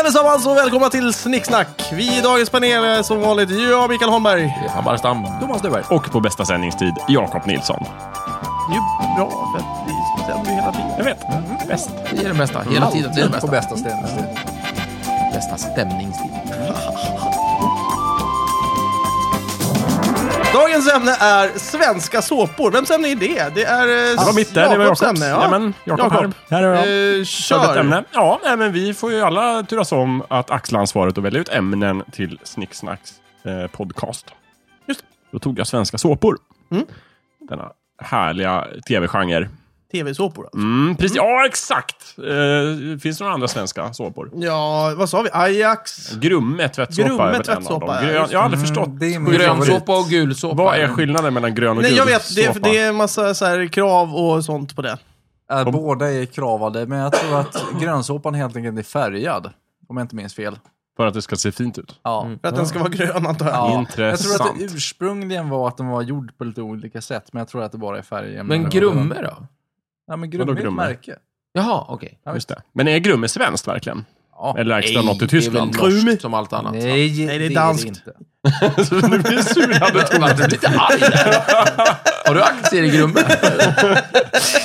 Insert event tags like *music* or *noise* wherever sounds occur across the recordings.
allesammans och välkomna till Snicksnack. Vi i dagens panel är som vanligt jag, Mikael Holmberg. Hammar Stam. Thomas Duberg. Och på bästa sändningstid, Jakob Nilsson. Det är ju bra för att vi sänder ju hela tiden. Jag vet. Bäst. Det är det mesta. Hela tiden. Det är det På bästa. bästa stämningstid. Bästa stämningstid. Dagens ämne är svenska såpor. Vems ämne är det? Det är... Det Det var mitt där, det var Jakobs. ämne. Ja. Jajamän, Jakob här. Här är jag. Eh, Kör. kör. Ämne. Ja, nej, men vi får ju alla turas om att axla ansvaret och välja ut ämnen till Snicksnacks eh, podcast. Just Då tog jag svenska såpor. Mm. Denna härliga tv-genre. Tv-såpor alltså. Mm, precis. Ja, exakt! Eh, finns det några andra svenska såpor? Ja, vad sa vi? Ajax? Grumme tvättsåpa Mm. Grumme är väl en av tvättsåpa, ja, dem. Grön, just Mm, det. jag har aldrig förstått. Det är min favorit. Grönsåpa och gulsåpa. Vad är skillnaden mellan grön och Nej, gul jag vet. Det, såpa? det är en massa så här, krav och sånt på det. Eh, Båda är kravade, men jag tror att *laughs* grönsåpan helt enkelt är färgad. Om jag inte minns fel. För att det ska se fint ut. Ja. Mm. För att den ska vara grön, antar jag. Ja. Jag Intressant. tror att det ursprungligen var att den var gjord på lite olika sätt, men jag tror att det bara är färgen. Men Grumme då? Ja, men Grumme är Vadå ett Grumme? märke. Jaha, okej. Just det. Men är Grumme svenskt verkligen? Ja. Eller ägs det av något i Tyskland? Det är väl norskt som allt annat. va? Nej, det är danskt. inte. Så nu blir jag sur. *laughs* Ja, men, Thomas, Du blir lite arg där. Har du aktier i Grumme? Nej,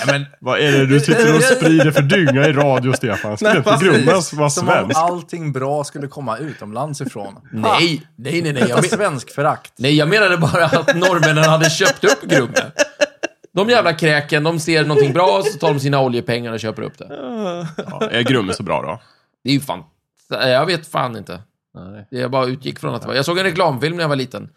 men Vad är det du sitter och sprider för dynga i radio, Stefan? Ska Nej, inte precis. Grumme vara Som om svensk? allting bra skulle komma utomlands ifrån. nej, nej, nej. nej. Jag, Detta men, svenskförakt. nej jag menade bara att norrmännen hade köpt upp Grumme. De jävla kräken, de ser någonting bra, så tar de sina oljepengar och köper upp det. Ja, är Grumme så bra då? Det är ju fan... Jag vet fan inte. Nej. Jag bara utgick från att det var... Jag såg en reklamfilm när jag var liten.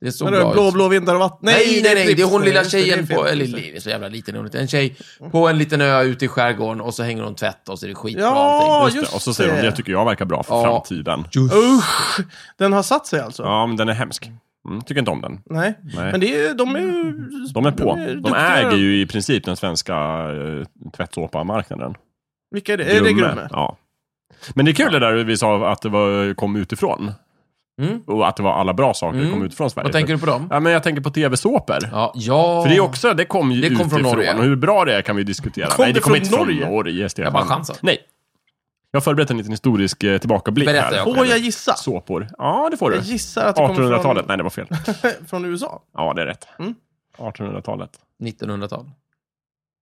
Det såg Men det är bra blå, ut. blå vindar och vatten. Nej, nej, nej. Pripps. Det är hon lilla Just det, det är tjejen fel. på... Eller li- så jävla liten är hon inte. En tjej på en liten ö ute i skärgården och så hänger hon tvätt och så är det skitbra Ja, allting. just det. Och så säger de, det tycker jag verkar bra för Ja. framtiden. Usch! Den har satt sig alltså? Ja, men den är hemsk. Mm, tycker inte om den. Nej. Men det är, ju- de är ju... De är på. De duktiga. äger ju i princip den svenska eh, tvättsåpamarknaden. Vilka är det? Är det Grumme? Ja. Men det är kul det där vi sa att det var, kom utifrån. Mm. Och att det var alla bra saker Mm. kom utifrån Sverige. Vad tänker du på dem? Ja, men jag tänker på tv-såpor. Ja, ja. För det är också, det kom ju Det kom från utifrån. Norge. Och hur bra det är kan vi diskutera. Kom Nej, det det kommer från inte från Norge? Norge, Stefan. Jag bara chansar. Nej. Jag har förberett en liten historisk eh, tillbakablick Berätta, här. Jakob. Får jag gissa? Såpor. Ja, det får du. Jag gissar att det kommer 1800-talet. från, Nej, det var fel. från USA. Ja, det är rätt. Mm. 1800-talet. 1900-tal.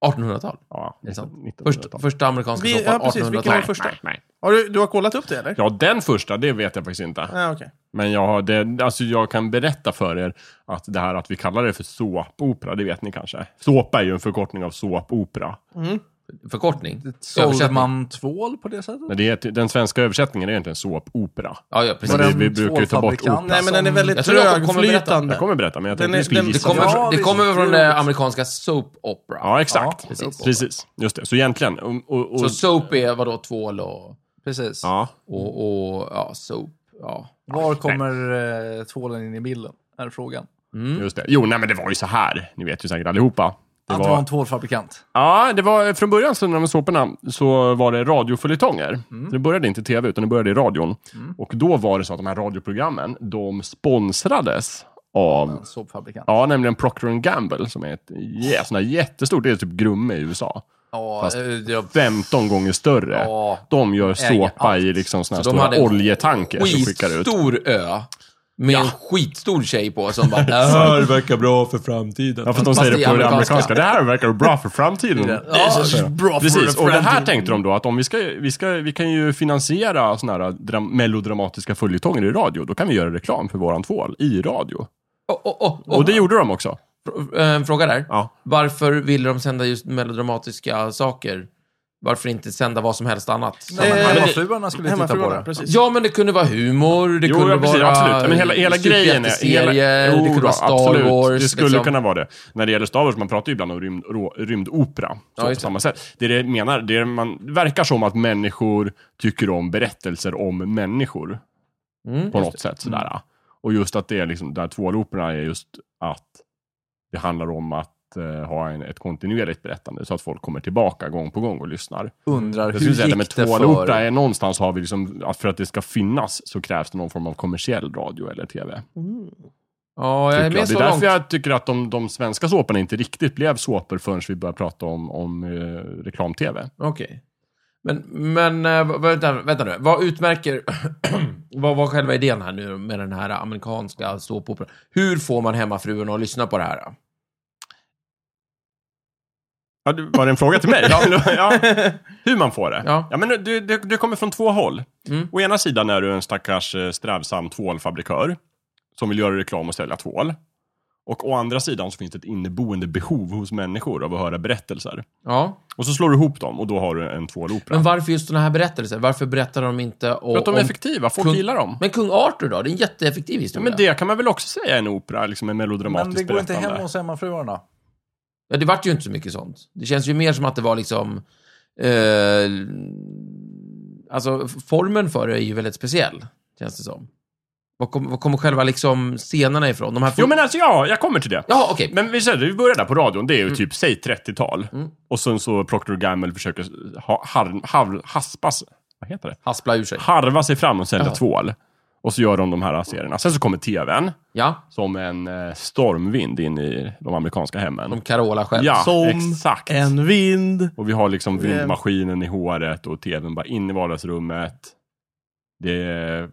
1800-tal. Ja, Det är sant. 1900-talet. Först, första amerikanska Vi- såpan, ja, precis. Vilken var 1800-tal. första? Nej, nej. Har du, du har kollat upp det eller? Ja, den första, det vet jag faktiskt inte. Ah, okej. Men jag, har, det, alltså jag kan berätta för er att det här att vi kallar det för såpopera, det vet ni kanske. Såpa är ju en förkortning av såpopera. Förkortning. Sålde Översättning. man tvål på det sättet? Men det är, den svenska översättningen är egentligen såpopera. Ja, ja, precis. Var vi- det vi en brukar ju ta bort tvålfabrikant ordet. Nej, men den är som- väldigt Jag tror Jakob kommer berätta. trögflytande. Jag kommer berätta, men jag Den tänkte är- vi skulle den- Det gissa. kommer, Ja, från, det visst. kommer från Jo. det amerikanska soap opera. Ja, exakt. Ja, precis. precis. Just det. Så egentligen... Och, och, och, Så soap är vadå? Tvål och... Precis. ja. Och, och ja, soap. Ja. Var kommer eh, tvålen in i bilden? Är frågan. Just det. Jo, nej men det var ju så här. Ni vet ju säkert allihopa. Det Att det var en var, tvålfabrikant. ja, det var från början så när de såporna så var det radiofuljetonger. Så Det började inte i tv utan det började i radion. Och då var det så att de här radioprogrammen, de sponsrades av, Såpfabrikant. ja nämligen Procter Gamble som är ett yeah, sån här jättestort, det är typ Grumme i USA. Ja, Fast- eh, jag- 15 gånger större. Ja. De gör Äger såpa allt. i liksom såna här Så de hade stora en oljetankers som skickar ut. skitstor ö med en skitstor tjej på som *laughs* bara... "Äh, här verkar bra för framtiden. Ja, fast de Fast säger i det på det amerikanska. amerikanska. Det här verkar bra för framtiden. ja, Precis, och det här tänkte de då att om vi ska, vi ska, vi kan ju finansiera såna här dram, melodramatiska följetonger i radio, då kan vi göra reklam för våran tvål i radio. och, och, och, och, Och det gjorde de också. Fr- eh, En fråga där. Ja. Varför ville de sända just melodramatiska saker? Varför inte sända vad som helst annat? Nej, Eh, men men det- Hemmafruarna skulle titta på Hemmafruarna, det. precis. Ja, men det kunde vara humor, det Jo, kunde ja, precis, vara absolut. Ja, Men hela, hela eh, grejen är... Hela, superhjälteserier, det kunde då, vara Star absolut. Wars. Det skulle liksom. kunna vara det. När det gäller Star Wars, man pratar ju ibland om rymd, rå, rymdopera. Ja, Så på just det. samma sätt. Det är det jag menar, det är man det verkar som att människor tycker om berättelser om människor. Mm. på något sätt. Sådär. Mm. Och just att det är liksom, där tvåloperorna är just att det handlar om att eh, ha en, ett kontinuerligt berättande så att folk kommer tillbaka gång på gång och lyssnar. Undrar Jag hur skulle säga att det med gick det tvålopera för... är någonstans har vi liksom, att för att det ska finnas så krävs det någon form av kommersiell radio eller tv. Ja, jag är tycker jag. Det med är så därför långt. jag tycker att de, de svenska såporna inte riktigt blev såpor förrän vi började prata om, om eh, reklam-tv. Okej. Men, men eh, vad- vänta, vänta nu. Vad utmärker... *clears throat* vad var själva idén här nu med den här amerikanska såpoperan? Hur får man hemmafruarna att lyssna på det här? Ja, du- var det en fråga till mig? ja. *laughs* Hur man får det? Ja. men det, det, det kommer från två håll. Mm. Å ena sidan är du en stackars eh, strävsam tvålfabrikör som vill göra reklam och sälja tvål. Och å andra sidan så finns det ett inneboende behov hos människor av att höra berättelser. Ja. Och så slår du ihop dem och då har du en tvålopera. Men varför just såna här berättelser? Varför berättar de inte om... För att de är om- effektiva, folk kung- gillar dem. Men kung Arthur då? Det är en jätteeffektiv Ja, historia. men det kan man väl också säga är en opera, liksom en Men melodramatisk det går inte hem berättande. hos hemmafruarna. Ja, det vart ju inte så mycket sånt. Det känns ju mer som att det var liksom... Eh, alltså, formen för det är ju väldigt speciell, känns det som. Var, kom, var kommer själva liksom scenerna ifrån? De här... Jo men alltså ja, jag kommer till det. Jaha, okej. Men vi säger det, vi börjar där på radion, det är ju typ, säg 30-tal. Mm. Och sen så Procter Gamble försöker ha, har, har, haspas, vad heter det? Haspla ur sig. Harva sig fram och sälja Ja. tvål. Och så gör de de här serierna. Sen så kommer tvn, Ja, som en eh, stormvind in i de amerikanska hemmen. som Carola själv. Ja, Som exakt. En vind. Och vi har liksom Det- vindmaskinen i håret och tvn bara in i vardagsrummet. Det är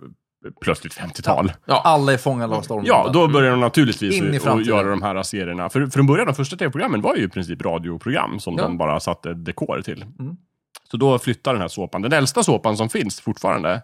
plötsligt 50-tal. Alla är fångade av stormen. Ja, då börjar de naturligtvis In i att- att framtiden. göra de här serierna. För från början, de första tv-programmen var ju i princip radioprogram som Ja. de bara satte dekor till. Så då flyttar den här såpan. Den äldsta såpan som finns fortfarande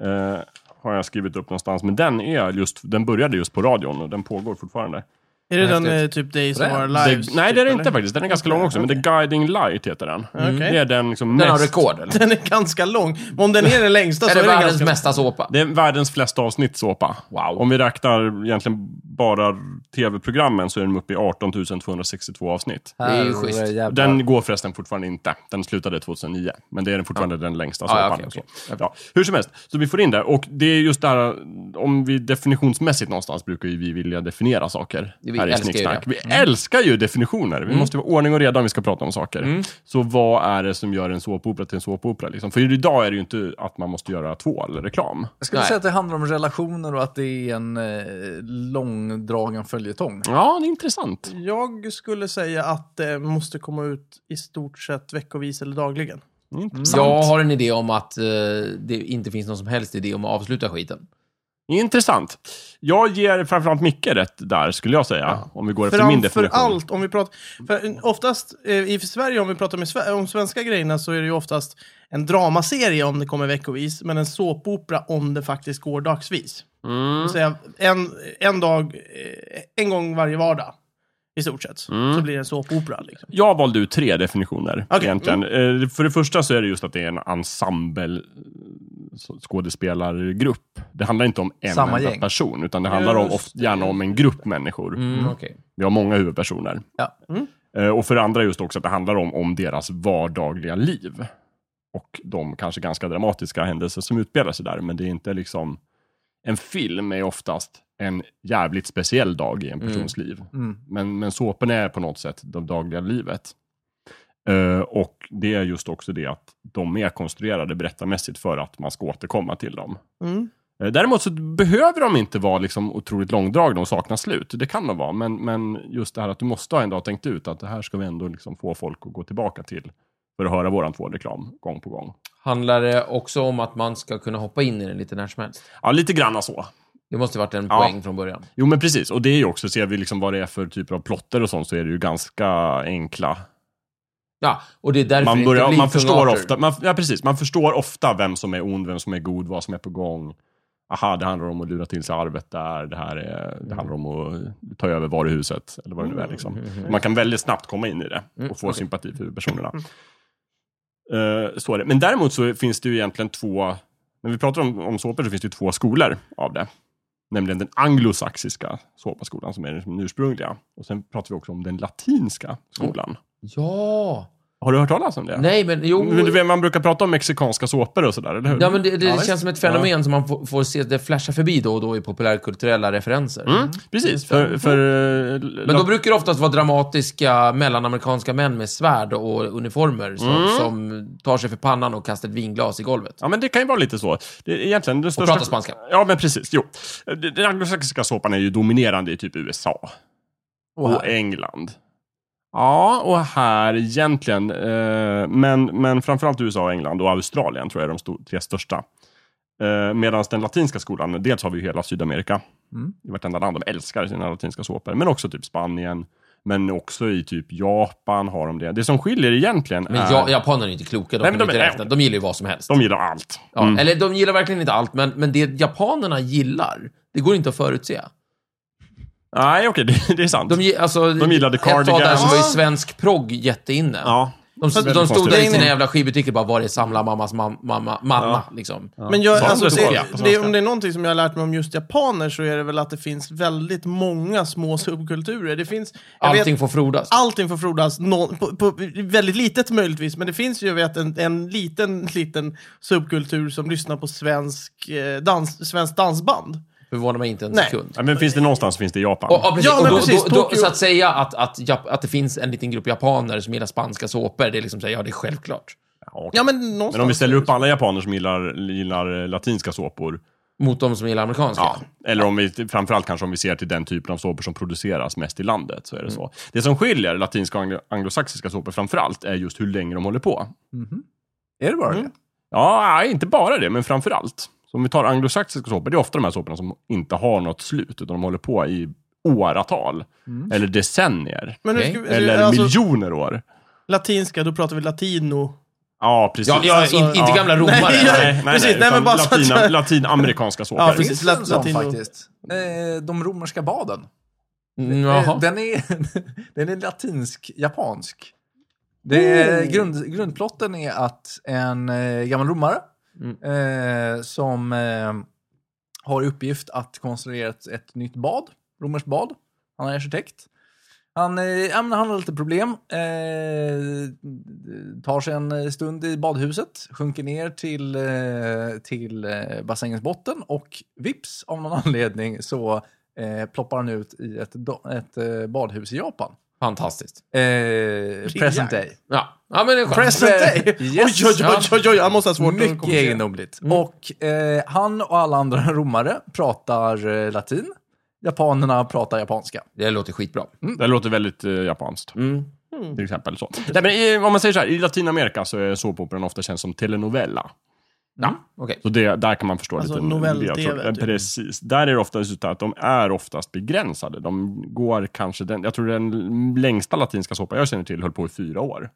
eh, har jag skrivit upp någonstans. Men den, är just, den började just på radion och den pågår fortfarande. Är det den Häftigt. eh, typ Days of Fränt. Our The, Lives? nej, typ, det är det inte eller? Mm. faktiskt. Den är ganska lång också. Men The Guiding Light heter den. Okej. Det är den liksom Den har mest... rekord, *laughs* eller? Den är ganska lång. Om den är den längsta *laughs* är så det är den världens ganska lång. mesta såpa? Det är världens flesta avsnitt såpa. Wow. Om vi räknar egentligen bara tv-programmen så är de uppe i 18 262 avsnitt. Det är ju schysst. Den går förresten fortfarande inte. Den slutade 2009. Men det är den fortfarande den längsta såpan. ja, okej, okej. Så, ja. Hur som helst, så vi får in det. Och det är just där, om vi definitionsmässigt någonstans brukar ju vi vilja definiera saker. Vi här i älskar ju Snicksnack. det. Mm. Vi älskar ju definitioner. Vi måste vara ordning och reda om vi ska prata om saker. Mm. Så vad är det som gör en såpopera till en såpopera? Liksom? För idag är det ju inte att man måste göra tvålreklam. Jag skulle Nej. säga att det handlar om relationer och att det är en eh, långdragen följetong. Ja, det är intressant. Jag skulle säga att det måste komma ut i stort sett veckovis eller dagligen. Det är intressant. Jag har en idé om att eh, det inte finns någon som helst idé om att avsluta skiten. Intressant. Jag ger framförallt Micke rätt där, skulle jag säga. Om vi går efter min Framför definition. allt om vi pratar... För eh, oftast eh, i Sverige, om vi pratar med sve- om svenska grejerna, så är det ju oftast en dramaserie om det kommer veckovis, men en såpopera om det faktiskt går dagsvis. Mm. Säga, en, en dag, eh, en gång varje vardag, i stort sett, så Mm. blir det en såpopera. Liksom. Jag valde ut tre definitioner Okej, egentligen. mm. Eh, För det första så är det just att det är en ensemble eh, så- skådespelargrupp. Det handlar inte om en Samma enda gäng. person, utan det handlar om, Just ofta, gärna om en grupp människor. Mm, okej. Vi har många huvudpersoner. Ja. Eh, Och för det andra just också att det handlar om, om deras vardagliga liv. Och de kanske ganska dramatiska händelser som utspelar sig där. Men det är inte liksom... En film är oftast en jävligt speciell dag i en persons liv. Mm. Men, men såpen är på något sätt det dagliga livet. Eh, och det är just också det att de är konstruerade berättarmässigt för att man ska återkomma till dem. Mm. Eh, Däremot så behöver de inte vara liksom otroligt långdragna och sakna slut. Det kan de vara, men, men just det här att du måste ha ändå ha tänkt ut att det här ska vi ändå liksom få folk att gå tillbaka till för att höra våran tvålreklam gång på gång. Handlar det också om att man ska kunna hoppa in i den lite när som helst? Ja, lite granna så. Det måste varit en Ja. poäng från början. Jo, men precis. Och det är ju också, ser vi liksom vad det är för typer av plotter och sånt, så är det ju ganska enkla. Ja, och det är därför Man, det börjar, inte blir man, kung förstår Arthur. ofta, man, ja, precis, man förstår ofta vem som är ond, vem som är god, vad som är på gång. Aha, det handlar om att lura till sig arvet där. Det, här är, det handlar om att ta över varuhuset, eller vad det nu är. Liksom. Mm. Man kan väldigt snabbt komma in i det och få sympati för huvudpersonerna. Eh, så är det. Men däremot så finns det ju egentligen två... När vi pratar om, om såpor så finns det ju två skolor av det. Nämligen den anglosaxiska såpaskolan som är den ursprungliga. Och sen pratar vi också om den latinska skolan. Ja! Har du hört talas om det? Nej, men jo. Men du vet, man brukar prata om mexikanska såpor och sådär, eller hur? Ja, men det, det Ja, känns visst. som ett fenomen som man får, får se, det flashar förbi då och då i populärkulturella referenser. Mm, precis. För, för, eh, Men då brukar det oftast vara dramatiska mellanamerikanska män med svärd och uniformer som, Mm. som tar sig för pannan och kastar ett vinglas i golvet. Ja, men det kan ju vara lite så. Det är egentligen den största... prata spanska. Ja, men precis. Jo. Den anglosaxiska såpan är ju dominerande i typ USA Och och här. England. Ja, och här egentligen. Eh, men, men framförallt USA, England och Australien tror jag är de sto- tre största. Eh, Medan den latinska skolan, dels har vi ju hela Sydamerika. Mm. I vartenda land. De älskar sina latinska såpor. Men också typ Spanien. Men också i typ Japan har de det. Det som skiljer egentligen Men är... ja, japanerna är inte kloka, de Nej, men kan de de inte är- räkna. De gillar ju vad som helst. De gillar allt. Mm. Ja, Mm. Eller de gillar verkligen inte allt, men, men det japanerna gillar, det går inte att förutse. Nej, okej, det, det är sant. De, gi- alltså, De gillade Ett tag där cardigans. så var ju svensk progg jätteinne. Ja. De, de, väldigt stod där i konstigt. sina jävla skivbutiker och bara, var det samla mammas mam, mamma, manna, liksom. Men jag, Så alltså, det står det, jag på det, svenska. om det är någonting som jag har lärt mig om just japaner så är det väl att det finns väldigt många små subkulturer. Det finns, jag Allting vet, får frodas. allting får frodas, nå- på, på, väldigt litet möjligtvis, men det finns ju jag vet, en, en liten, liten subkultur som lyssnar på svensk, eh, dans, svensk dansband. Förvånar mig inte en Nej. sekund. Ja, Men finns det någonstans finns det i Japan. Och, ja, precis. Ja, men och då, precis, då, då, Tokyo- så att säga att, att, Jap- att det finns en liten grupp japaner som gillar spanska såpor, det är liksom så här, ja, det är självklart. Ja, okej. Ja, men någonstans. men om vi ställer upp alla japaner som gillar, gillar eh, latinska såpor. Mot de som gillar amerikanska. Ja. Eller om vi, framförallt kanske om vi ser till den typen av såpor som produceras mest i landet, så är det så. Det som skiljer latinska och anglo- anglosaxiska såpor framförallt är just hur länge de håller på. Är det bara det? Ja, nej, inte bara det, men framförallt. Så om vi tar anglosaxiska såpor, det är ofta de här såporna som inte har något slut, utan de håller på i åratal. Eller decennier. Men hur Okej. ska vi, Eller alltså, miljoner år. Latinska, då pratar vi *laughs* latino. Ja, precis. Ja, ja, Alltså, in, inte ja. gamla romare. Nej, ja. Nej, nej, Precis, nej, nej, utan men bara så att- *laughs* latin, latinamerikanska såpor. Ja, precis. Finns det en sån Latino. faktiskt? Eh, de romerska baden. Mm, Eh, Jaha. den, är, *laughs* den är latinsk-japansk. Det är, grund, grundplotten är att en eh, gammal romare eh, som eh, har i uppgift att konstruera ett, ett nytt bad, romerskt bad. Han är arkitekt. Han, eh, ja, men han har lite problem. Eh, tar sig en eh, stund i badhuset, sjunker ner till, eh, till eh, bassängens botten och vips av någon *laughs* anledning så eh, ploppar han ut i ett, do- ett eh, badhus i Japan. Fantastiskt. Eh, present day. Ja, ja men det är skönt. Present day! *laughs* Yes. Oj, oj, oj, oj, oj, han måste ha svårt att Mycket kommunicera. egendomligt. Mm. Och eh, han och alla andra *laughs* romare pratar eh, latin. Japanerna pratar japanska. Det låter skitbra. Mm. Det låter väldigt eh, japanskt. Mm. Till exempel så. Nej, men i, om man säger så här, i Latinamerika så är såpoperan ofta känns som telenovella. Ja, okej. Så det, där kan man förstå Alltså lite. novell-tv, jag tror- typ. Precis. Där är det oftast så att de är oftast begränsade. De går kanske den, jag tror den längsta latinska såpa jag känner till höll på i fyra år.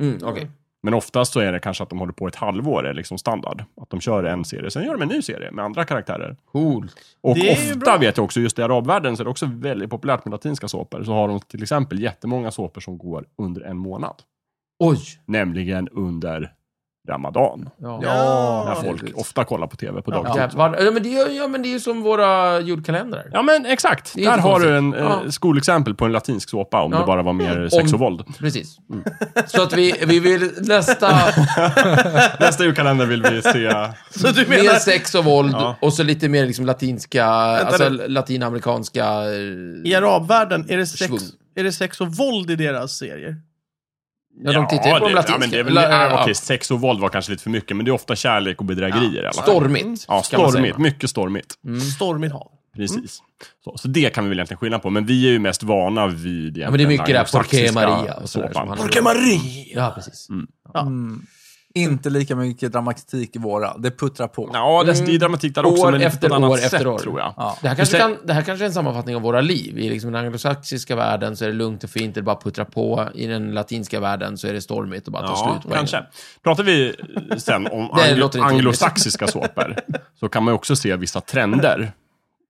Mm, okej. Men oftast så är det kanske att de håller på ett halvår, är liksom standard. Att de kör en serie, sen gör de en ny serie med andra karaktärer. Coolt. Och Det är ju bra. ofta vet jag också, just i arabvärlden så är det också väldigt populärt med latinska såpor. Så har de till exempel jättemånga såpor som går under en månad. Oj. Nämligen under Ramadan. Ja. Ja. När folk precis. ofta kollar på TV på dagtid. Ja, Jävlar. Ja, men det, är- ja, men det är ju som våra julkalendrar. men exakt. Det är inte Där har du en konstigt. eh, Ja. skolexempel på en latinsk såpa om Ja. Mm. det bara var mer sex och våld. Precis. Mm. *laughs* Så att vi, vi vill *laughs* nästa Nästa julkalender vill vi *laughs* se... Så du mer menar... sex och våld Ja. och så lite mer liksom latinska, alltså nu. latinamerikanska... eh, I arabvärlden, är det, sex, Svung. är det sex och våld i deras serier? Ja, de tittar ju på de det, latinska. Ja, men det är väl, La- ja, ja. okej, sex och våld var kanske lite för mycket, men det är ofta kärlek och bedrägerier i alla fall. Stormigt. Ja, ska man säga. stormigt. Mycket stormigt. Stormigt hav. Mm. Precis. Så, så det kan vi väl egentligen skilja på, men vi är ju mest vana vid Ja, men det är mycket det här Porqué anglosaxiska Maria och sådär. såpan. som handlar om- Orka Marie! Ja, precis. Mm. Inte lika mycket dramatik i våra. Det puttrar på. Ja, det det är dramatik där också, Mm. År men lite efter på ett annat år sätt, efter år. tror jag. Ja. Det här, kanske Just det. kan, det här kanske är en sammanfattning av våra liv. I liksom den anglosaxiska världen så är det lugnt och fint, det bara puttrar på. I den latinska världen så är det stormigt och bara tar slut på en kanske. Pratar vi sen om *laughs* Det anglo- låter inte rimligt. anglosaxiska *laughs* såpor, så kan man ju också se vissa trender.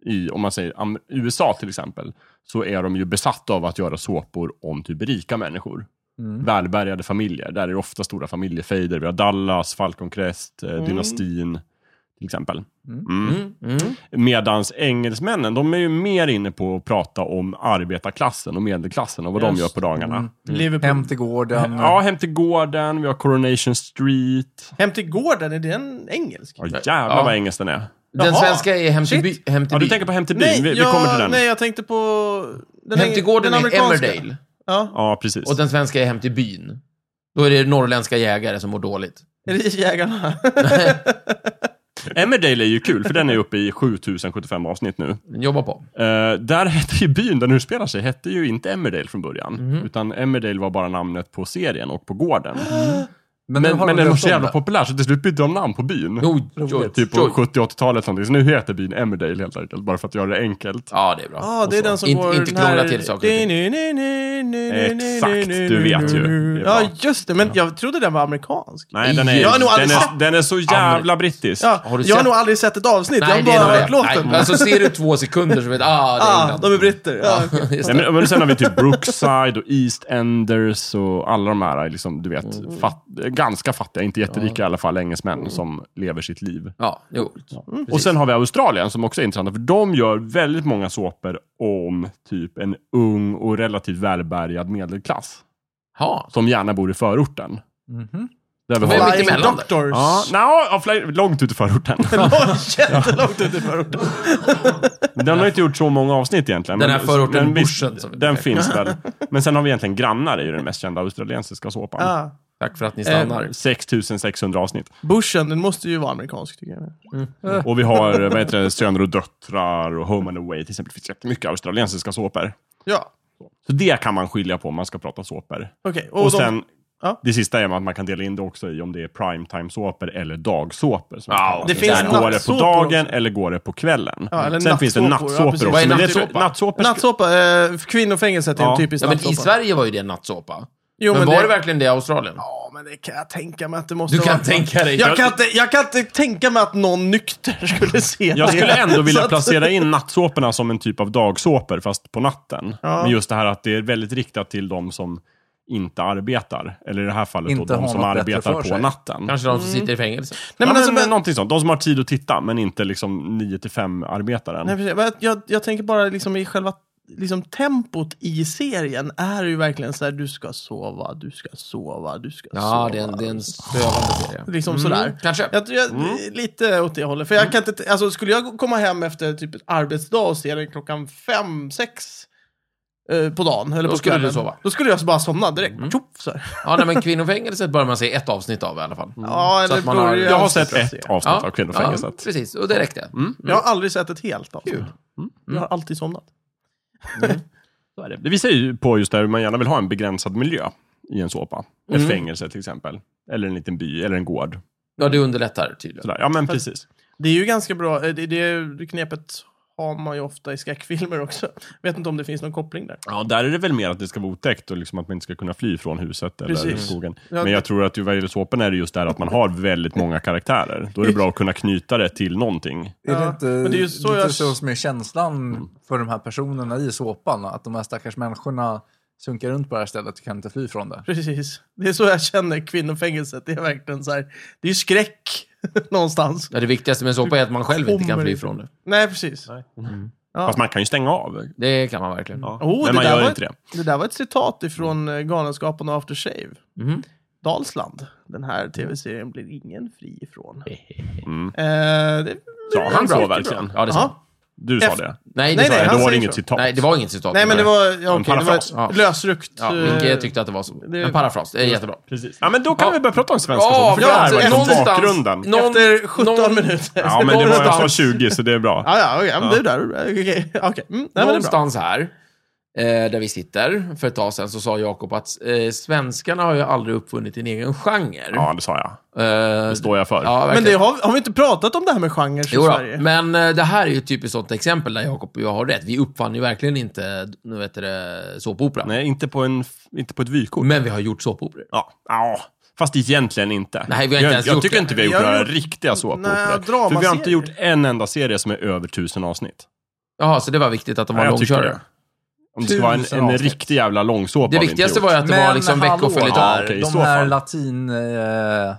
I, om man säger am- USA till exempel, så är de ju besatta av att göra såpor om typ rika människor. Mm. Välbärgade familjer. Där är det ofta stora familjefejder. Vi har Dallas, Falcon Crest, eh, Dynastin till exempel. Mm. Mm, mm. Medans engelsmännen, de är ju mer inne på att prata om arbetarklassen och medelklassen och vad de Just. gör på dagarna. Mm. Liverpool. Mm. Hem Hem. till gården. Ja, Hem till gården, vi har Coronation Street. till gården, är det en engelsk? Ja, jävlar Ja. vad engelsk den är. Den Jaha. svenska är Hem till, by, hem till Ja, du byn. tänker på Hem till byn, vi, vi kommer till den. nej, jag tänkte på... Den Hem till eng- gården är amerikanska. Emmerdale Ja. Ja, precis. och den svenska är Hem till byn. Då är det norrländska jägare som mår dåligt. Är det Jägarna? Emmerdale är ju kul, för den är uppe i *laughs* 7075 avsnitt nu. Men jobba på. Eh, där hette ju byn där den utspelar sig, hette ju inte Emmerdale från början. Utan Emmerdale var bara namnet på serien och på gården. Men, Men, men den var så jävla på... populär, så till slut bytte de namn på byn. Jo, jo, typ på jo. 70-80-talet någonting. Så nu heter byn Emmerdale helt enkelt, bara för att göra det enkelt. Ja, det är bra. Ja, det är den som Inte- går... inte den här- krångla till saker och ting. Ni- ni- ni- ni- Exakt, ni- ni- du vet ju. ni- Det är Ja, bra. just det. Men jag trodde den var amerikansk. Nej, den är, Jag har nog aldrig den, är, sett- den är så jävla brittisk. Ja, Har du jag har sett- nog aldrig sett ett avsnitt. jag har det är bara nog hört det. låten. Nej, Alltså, ser du två sekunder så vet du, ah, det är ah, England. de är britter. Ja. okej. Just Nej, det. men, men sen har vi typ Brookside och East Enders och alla de här, liksom, du vet, Mm. fatt, ganska fattiga, inte jätterika i alla fall, engelsmän som lever sitt liv. Ja, jo. Och sen har vi Australien som också är intressant, för de gör väldigt många såpor om typ en ung och relativt välbärgad medelklass. Ja. Som gärna bor i förorten. Mhm. Där vi Men har... mitt Flying emellan där. Doctors. Ja, nja, ja, fly- långt ut i *laughs* förorten. Oj, Jättelångt ut i förorten. Den har inte gjort så många avsnitt egentligen. Den men- här förorten men visst, Bushen, som vi Den brukar. finns *laughs* väl. Men sen har vi egentligen Grannar, är ju den mest kända australiensiska såpan. Ah, Tack för att ni stannar. 6600 avsnitt. Bushen, den måste ju vara amerikansk tycker jag. Eh. Och vi har eh, vad heter det, Söner och döttrar och Home and Away till exempel. Det finns jättemycket australiensiska såpor. Ja, Så det kan man skilja på om man ska prata såpor. okej. Och, de- sen, Ja. det sista är att man kan dela in det också i om det är primetime-såpor eller dagsåpor. som Ja, kallas. det finns Där går det på nattsåpor dagen eller går det på kvällen. Ja, eller Sen finns det nattsåpor, ja, nattsåpor precis. också. Vad är men det nattsåpa? tror- nattsåpor ska- Nattsåpa, eh, kvinnofängelset är Ja. en typisk Ja, men I nattsåpa. Sverige var ju det en nattsåpa. Jo, men, var det verkligen det i Australien? Ja, men det kan jag tänka mig att det måste Du kan vara. tänka dig. Jag kan, inte, jag kan inte tänka mig att någon nykter skulle se det. Jag skulle ändå Så vilja att- placera in nattsåporna som en typ av dagsåpor, fast på natten. Ja. Men just det här att det är väldigt riktat till de som inte arbetar. Eller i det här fallet Inte då, de har som något bättre arbetar för på sig. natten. Kanske de som sitter i fängelse. Mm. Nej, men ja, alltså, men, men, någonting sånt. De som har tid att titta, men inte liksom 9 till 5-arbetaren. nej, precis. Men jag- jag, jag tänker bara liksom i själva liksom tempot i serien är ju verkligen så här, du ska sova, du ska sova, du ska Ja, sova. det är en, det är en stövande serie. Liksom sådär. Mm, Kanske. Mm. Jag, tror jag, Lite åt det hållet. För jag kan inte, alltså, skulle jag komma hem efter typ ett arbetsdag och se den klockan fem, sex eh, på dagen, eller Då på skulle du kvällen, sova. Mm. Då skulle jag bara somna direkt. Tjoff, så här. Ja, nej, men Kvinnofängelset börjar man se ett avsnitt av i alla fall. Mm. Ja, Så eller att man har- börjar- Jag har sett ett Mm. Ja. avsnitt av Kvinnofängelset. Ja, precis, och det räckte. Mm. Jag har aldrig sett ett helt avsnitt. Kul. Mm. Jag har alltid somnat. Så är det. det visar ju på just det här hur man gärna vill ha en begränsad miljö i en såpa. Ett fängelse till exempel. Eller en liten by, eller en gård. Ja, det underlättar tydligen. Sådär. Ja, men precis. Det är ju ganska bra, eh, det, det knepet har man ju ofta i skräckfilmer också. Vet inte om det finns någon koppling där. Ja, där är det väl mer att det ska vara otäckt och liksom att man inte ska kunna fly från huset eller Precis. skogen. Ja, Men jag det- tror att i vad gäller såpan är det just det här att man har väldigt många karaktärer. Då är det bra att kunna knyta det till någonting. Är det Ja, inte men det är ju så lite jag- så som är Mm. känslan för de här personerna i såpan? Att de här stackars människorna sunkar runt på det här stället och kan inte fly från det. Precis. Det är så jag känner kvinnofängelset. Det är verkligen så här, det är ju skräck *laughs* någonstans. Ja, det viktigaste med en såpa är att man själv inte kan Kommer fly inte. från det. Nej, precis. Mm. Ja. Mm. Fast man kan ju stänga av. Det kan man verkligen. Ja. Oh, men det man där gör var- inte det. Mm. Det där var ett citat ifrån eh, Galenskaparna och After Shave. Dalsland. Den här tv-serien blir ingen fri ifrån. Mm. Eh, det, Sa han bra. så verkligen? Ja, det sa han. ja. Du sa F- det. Nej, Nej, det sa nej, jag Då han var det säger inget så. citat. Nej, det var inget citat. Nej, men det var, ja, okej, det var parafras. Ja. ett lösryckt. Ja, eh, Micke tyckte att det var så. det- En parafras. Det är jättebra. Precis. Ja, men då kan Ja. vi börja prata om svenska Ja, såpor. För det bra. här var liksom Någonstans- bakgrunden. Någon- Efter 17 någon- minuter. Ja, men det var, jag sa någonstans- 20, så det är bra. *laughs* Ja, ja, okej. ja, men du där. Okej, okej. Mm, nej, men det är bra. Någonstans här, eh, där vi sitter, för ett tag sedan, så sa Jakob att eh, svenskarna har ju aldrig uppfunnit en egen genre. Ja, det sa jag. Eh, Det står jag för. ja, Men verkligen. det har, har vi inte pratat om det här med genrer i Jo då, Sverige? men eh, det här är ju ett typiskt sånt exempel där Jakob och jag har rätt. Vi uppfann ju verkligen inte nu vet det, såpopera. Nej, inte på, en, inte på ett vykort. Men vi har gjort såpoperor. Ja. ja. Fast egentligen inte. Nej, vi har inte jag ens jag gjort tycker det. inte vi har gjort Vi har några gjort- riktiga Nej, såpopor. För vi har dramaserier. inte gjort en enda serie som är över tusen avsnitt. Jaha, så det var viktigt att de var jag tycker långkörare. det. Om det ska vara en, Tusen en avsnitt. riktig jävla långsåpa Det har vi viktigaste inte var ju att det var liksom Ja, veckoföljetongar. okej, i de så här fall. latinsåporna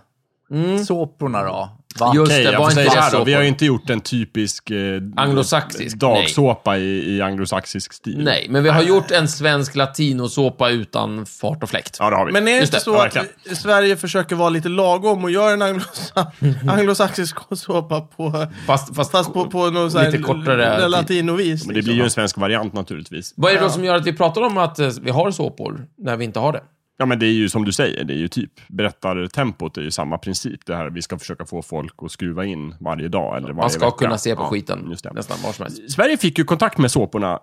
Mm. såporna då? Va? Just Okej, det, jag var får säga inte så det här då. Vi har såpor? ju inte gjort en typisk eh, Anglosaxisk, dagsåpa i, i anglosaxisk stil. Nej, men vi har gjort en svensk latinosåpa utan fart och fläkt. Ja, det har vi. Men är det Just inte det, så ja, att verkligen. vi- Sverige försöker vara lite lagom och gör en anglosa- *laughs* anglosaxisk såpa på, Fast, fast, fast på, på någon så här Lite kortare l- tid. latinovis? liksom? Men det blir ju en svensk variant naturligtvis. Vad är det då som gör att vi pratar om att eh, vi har såpor när vi inte har det? Ja, men det är ju som du säger, det är ju typ berättartempot är ju samma princip. Det här vi ska försöka få folk att skruva in varje dag eller varje Man ska vecka. kunna se på Ja, skiten Just det. nästan var som helst. Sverige fick ju kontakt med såporna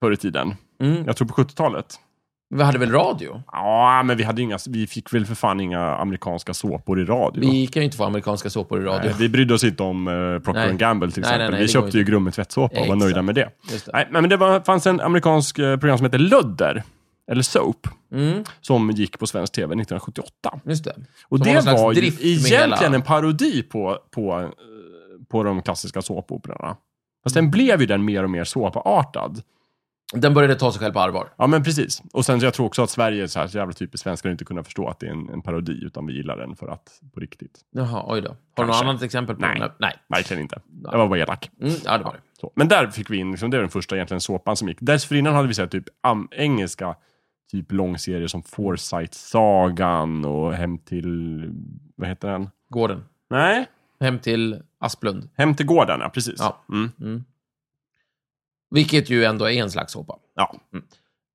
förr i tiden. Mm. Jag tror på 70-talet. Vi hade väl radio? Ja, men vi, hade inga, vi fick väl för fan inga amerikanska såpor i radio. Vi kan ju inte få amerikanska såpor i radio. Nej, vi brydde oss inte om eh, Procter Nej. Gamble till Nej, nej, exempel. nej, vi det går köpte inte. ju Grummet tvättsåpa och var Exakt. nöjda med det. Just det. Nej, men det var, fanns en amerikansk eh, program som hette Ludder, eller Soap, Mm, som gick på svensk tv 1978. just det. Och Som var det någon slags var ju drift med egentligen hela- en parodi på, på, eh, på de klassiska såpoperorna. Fast sen blev ju den mer och mer såpartad. Den började ta sig själv på allvar. Ja, men precis. Och sen så jag tror också att Sverige, är så här så jävla typiskt svenskar, inte kunna förstå att det är en, en parodi, utan vi gillar den för att, på riktigt. Jaha, oj då. Har du något Kanske. annat exempel på Nej. den här? Nej. Verkligen inte. Jag var bara elak. Mm, ja, det var det. Så. Men där fick vi in, liksom, det var den första egentligen såpan som gick. Dessförinnan hade vi sett typ am- engelska typ långserier som Foresight-sagan och Hem till... Vad heter den? Gården. Nej. Hem till Asplund. Hem till gården, ja precis. Ja. Mm. Vilket ju ändå är en slags såpa. ja.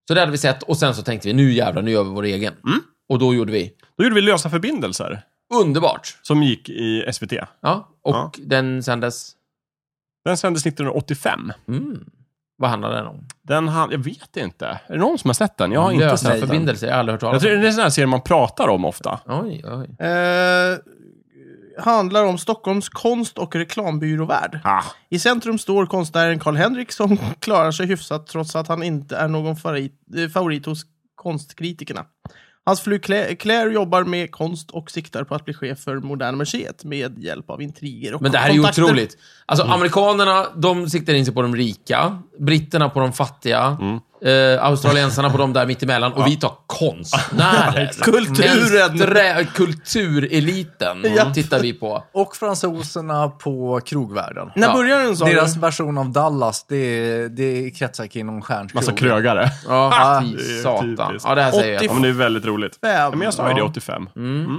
Så det hade vi sett och sen så tänkte vi, nu jävlar, nu gör vi vår egen. Mm. Och då gjorde vi Då gjorde vi Lösa förbindelser, underbart. som gick i SVT. Ja, och Ja. den sändes... Den sändes 1985. Mm. Vad handlar den om? Den han, jag vet inte. Är det någon som har sett den? Jag har inte Mm. Lösa sett den. förbindelser, jag har aldrig hört Jag talas tror det är om. en sån här serie man pratar om ofta. Oj, oj. Eh, handlar om Stockholms konst och reklambyråvärld. Ah. I centrum står konstnären Karl-Henrik som *laughs* klarar sig hyfsat trots att han inte är någon favorit, eh, favorit hos konstkritikerna. Hans fru Cla- Claire jobbar med konst och siktar på att bli chef för Moderna Museet med hjälp av intriger och Men det här är ju kontakter. otroligt. Alltså, Mm. amerikanerna, de siktar in sig på de rika. Britterna på de fattiga. Mm. Eh, australiensarna på de där mittemellan. Och vi tar *laughs* konstnärer. Kulturen. Den strä- kultureliten Ja. tittar vi på. Och fransoserna på krogvärlden. När Ja. börjar den sa du? Deras version av Dallas, det, det kretsar kring någon stjärnkrog. Massa krögare. Ja, det är Ah, fy ju satan. typiskt. Ja, det här säger Ja, jag. Åttiofem. men det är väldigt roligt. Ja, men jag sa ju det, 85.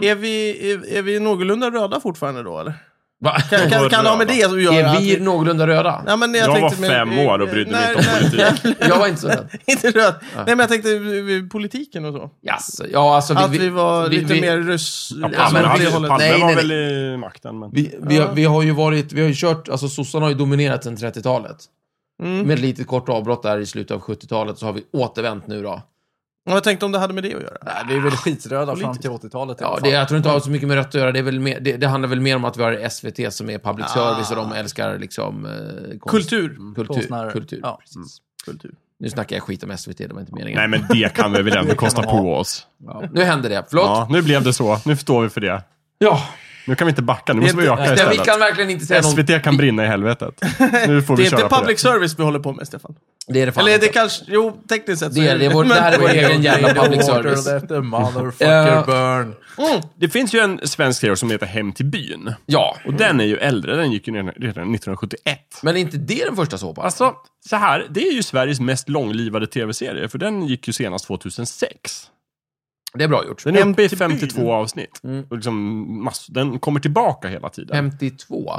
Är vi, är, är vi någorlunda röda fortfarande då eller? Va? Kan, kan, kan det ha med det att göra? Är att vi någorlunda röda? *laughs* Ja, men jag Jag tänkte var med- fem år och brydde mig Nej, inte om nej, politik. Jag var inte så rädd. *laughs* Inte röd. Nej, men jag tänkte eh, politiken och så. Yes. Ja, alltså, att vi var lite mer ryss... Ja, Ja, Palme, men åt vi- det hade, hållet. Palme Nej, nej, var nej. väl i makten, men... Vi, vi, har, vi har ju varit, vi har ju kört, alltså sossarna har ju dominerat sedan 30-talet. Mm. Med ett litet kort avbrott där i slutet av 70-talet så har vi återvänt nu då. Och jag tänkte om det hade med det att göra. Nej, vi är väl skitröda fram till 80-talet i alla Ja, fall. det, jag tror inte det har så mycket med rött att göra. Det, är väl mer, det, det handlar väl mer om att vi har SVT som är public service och de älskar liksom... Eh, konst- Kultur. Kultur. Konstnärer. kultur. Ja. Mm. Precis. Kultur. Nu snackar jag skit om SVT, det var inte meningen. Nej, men det kan vi väl ändå kosta man ha. på oss. Ja. Nu händer det, förlåt. Ja, nu blev det så. Nu förstår vi för det. Ja. Nu kan vi inte backa, nu måste vi öka Det, vi istället. kan verkligen inte säga någon... SVT kan brinna i helvetet. Nu får Det vi är köra inte på public det. service vi håller på med, Stefan. Det är det fan Eller är inte. det kanske... Jo, tekniskt sett så Det är- det är *laughs* vår- men- det här är vår Water egen jävla public water, service. let the motherfucker Eh. burn. Mm. Det finns ju en svensk serie som heter Hem till byn. Ja, Och Mm. den är ju äldre, den gick ju redan redan 1971. men är inte det den första såpan? Alltså, så här, det är ju Sveriges mest långlivade tv-serie, för den gick ju senast 2006. Det är bra gjort. Den är Hem uppe i till byn. 52 avsnitt. Mm. Och liksom mass- den kommer tillbaka hela tiden. 52?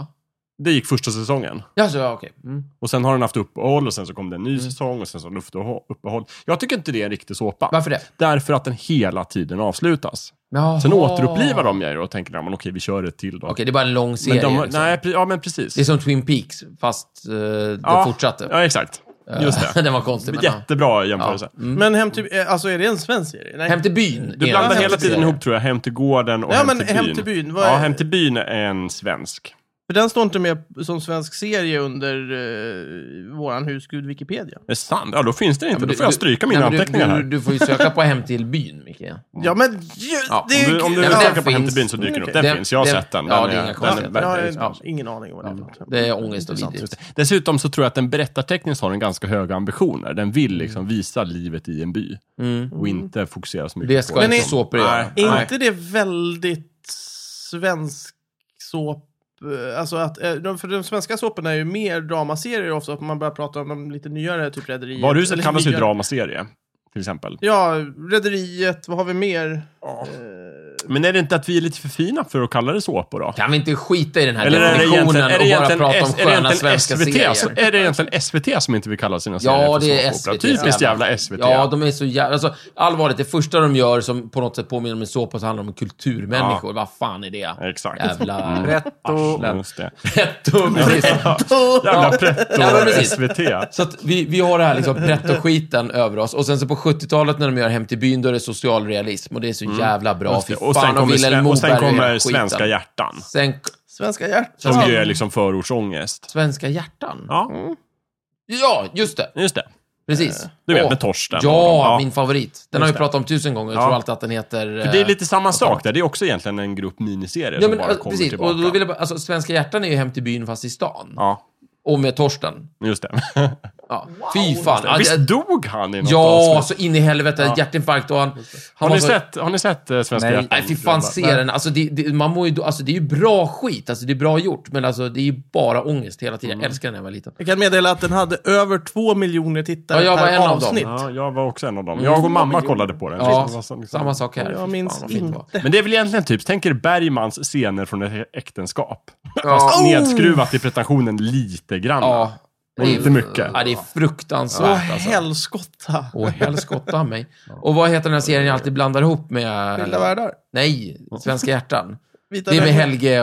Det gick första säsongen. Ja, så, ja okej. Mm. Och sen har den haft uppehåll och sen så kom det en ny säsong och sen så luftuppehåll. Jag tycker inte det är en riktig såpa. Varför det? Därför att den hela tiden avslutas. Jaha. Sen återupplivar de ju och tänker, ja, men okej, vi kör ett till då. Okej, det är bara en lång men serie. de, liksom. nej, pre- ja, men precis. Det är som Twin Peaks, fast eh, det ja, fortsatte. Ja, exakt. Just det. *laughs* den var konstig, men ja. Jättebra jämförelse. Men hem till... eh, Alltså, är det en svensk serie? Nej. Hem till byn. Du är blandar en hela svensk tiden serie. ihop, tror jag, Hem till gården och Ja, hem, men till Hem byn. till byn, vad Ja, är- Hem till byn är en svensk. För den står inte med som svensk serie under eh, våran husgud Wikipedia. Det är sant. Ja, då finns det inte. då får jag stryka mina nej, men du- anteckningar du, här. Du, får ju söka på Hem till byn, Micke. Ja, men... Ju, Ja, det är om ju... du, om du ja, men söker den på Hem till finns. Mm, byn så dyker den upp. Okej. Den, Den- finns, jag har den- sett den. ja, Den det är- är inga den är konstigheter. jag väldigt- har Ja. ingen aning om vad det är för något. Det är ångest och vidrigt. Dessutom så tror jag att den berättartekniskt har en ganska höga ambitioner. Den vill liksom visa livet i en by Mm. och inte fokusera så mycket Det ska på Men inte är- såpor göra. Nej. Är Nej. inte det väldigt svensk såp? eh, Alltså att, eh, de- för de svenska såporna är ju mer dramaserier ofta, att man börjar prata om de lite nyare, typ Rederiet. Varuhuset Eller kallas ju nyare- dramaserie, till exempel. Ja, Rederiet, vad har vi mer? Ja. Eh, Men är det inte att vi är lite för fina för att kalla det såpor då? Kan vi inte skita i den här Eller är det definitionen egentligen, är det och bara egentligen, prata om S- är det sköna egentligen svenska SVT? serier? Är det egentligen SVT som inte vill kalla sina serier Ja, för det är såpopera? SVT. Typiskt jävla SVT. Ja, de är så jävla... Alltså, allvarligt, det första de gör som på något sätt påminner om en såpa så handlar det om kulturmänniskor. Vad fan är det? Exakt. Mm. *laughs* Jävla... Pretto. Just det. Pretto, precis. Jävla Ja, men pretto precis. SVT. Så att vi, vi har det här liksom pretto-skiten över oss. Och sen så på 70-talet när de gör Hem till byn, då är det social realism. Och det är så jävla bra. Fy fan, Mm. Och sen kommer, Vilhelm sve- och sen Moberg och kommer hela skiten. Svenska hjärtan. Sen Svenska hjärtan. Som ju är liksom förortsångest. Svenska hjärtan. Ja, Ja, just det. just det. Precis. Du vet, Åh. med Torsten. och Ja, dem. min favorit. Den har vi pratat om tusen gånger. Jag Ja. tror alltid att den heter... För det är lite samma sak där. Det är också egentligen en grupp miniserier Eh, Ja, som men, bara alltså, kommer precis. tillbaka. Och då vill jag bara, alltså, Svenska hjärtan är ju hem till byn fast i stan. Ja, Och med Torsten. just det. Ja. Fy fan. Ja, Visst det- dog han i något ja, alltså, avsnitt? så in i helvete. Hjärtinfarkt och han... han Har var ni, så- sett, har ni sett eh, Svenska Nej. hjärtan? Nej, fy fan, se den. Alltså, det, det, man mår ju, då- alltså, det är ju bra skit. Alltså, det är bra gjort. Men alltså, det är ju bara ångest hela tiden. Jag Mm. älskar den när jag var liten. Jag kan meddela att den hade över två miljoner tittare Ja, jag var per en av dem. avsnitt. Ja, jag var också en av dem. Jag och mamma kollade på den. Ja, Det var så- liksom- samma sak här. Fy Jag fan, minns vad fint det var. inte. Men det är väl egentligen typ, tänk er Bergmans scener från ett äktenskap. Fast nedskruvat i pretensionen lite grann. Oh! Ja. Men Det är- inte mycket. Ja, det är fruktansvärt. Åh, alltså. helskotta. Åh, helskotta mig. Och vad heter den här serien jag alltid blandar ihop Skilda med... världar. Nej, Svenska hjärtan. Vita Det är med dräkter. Helge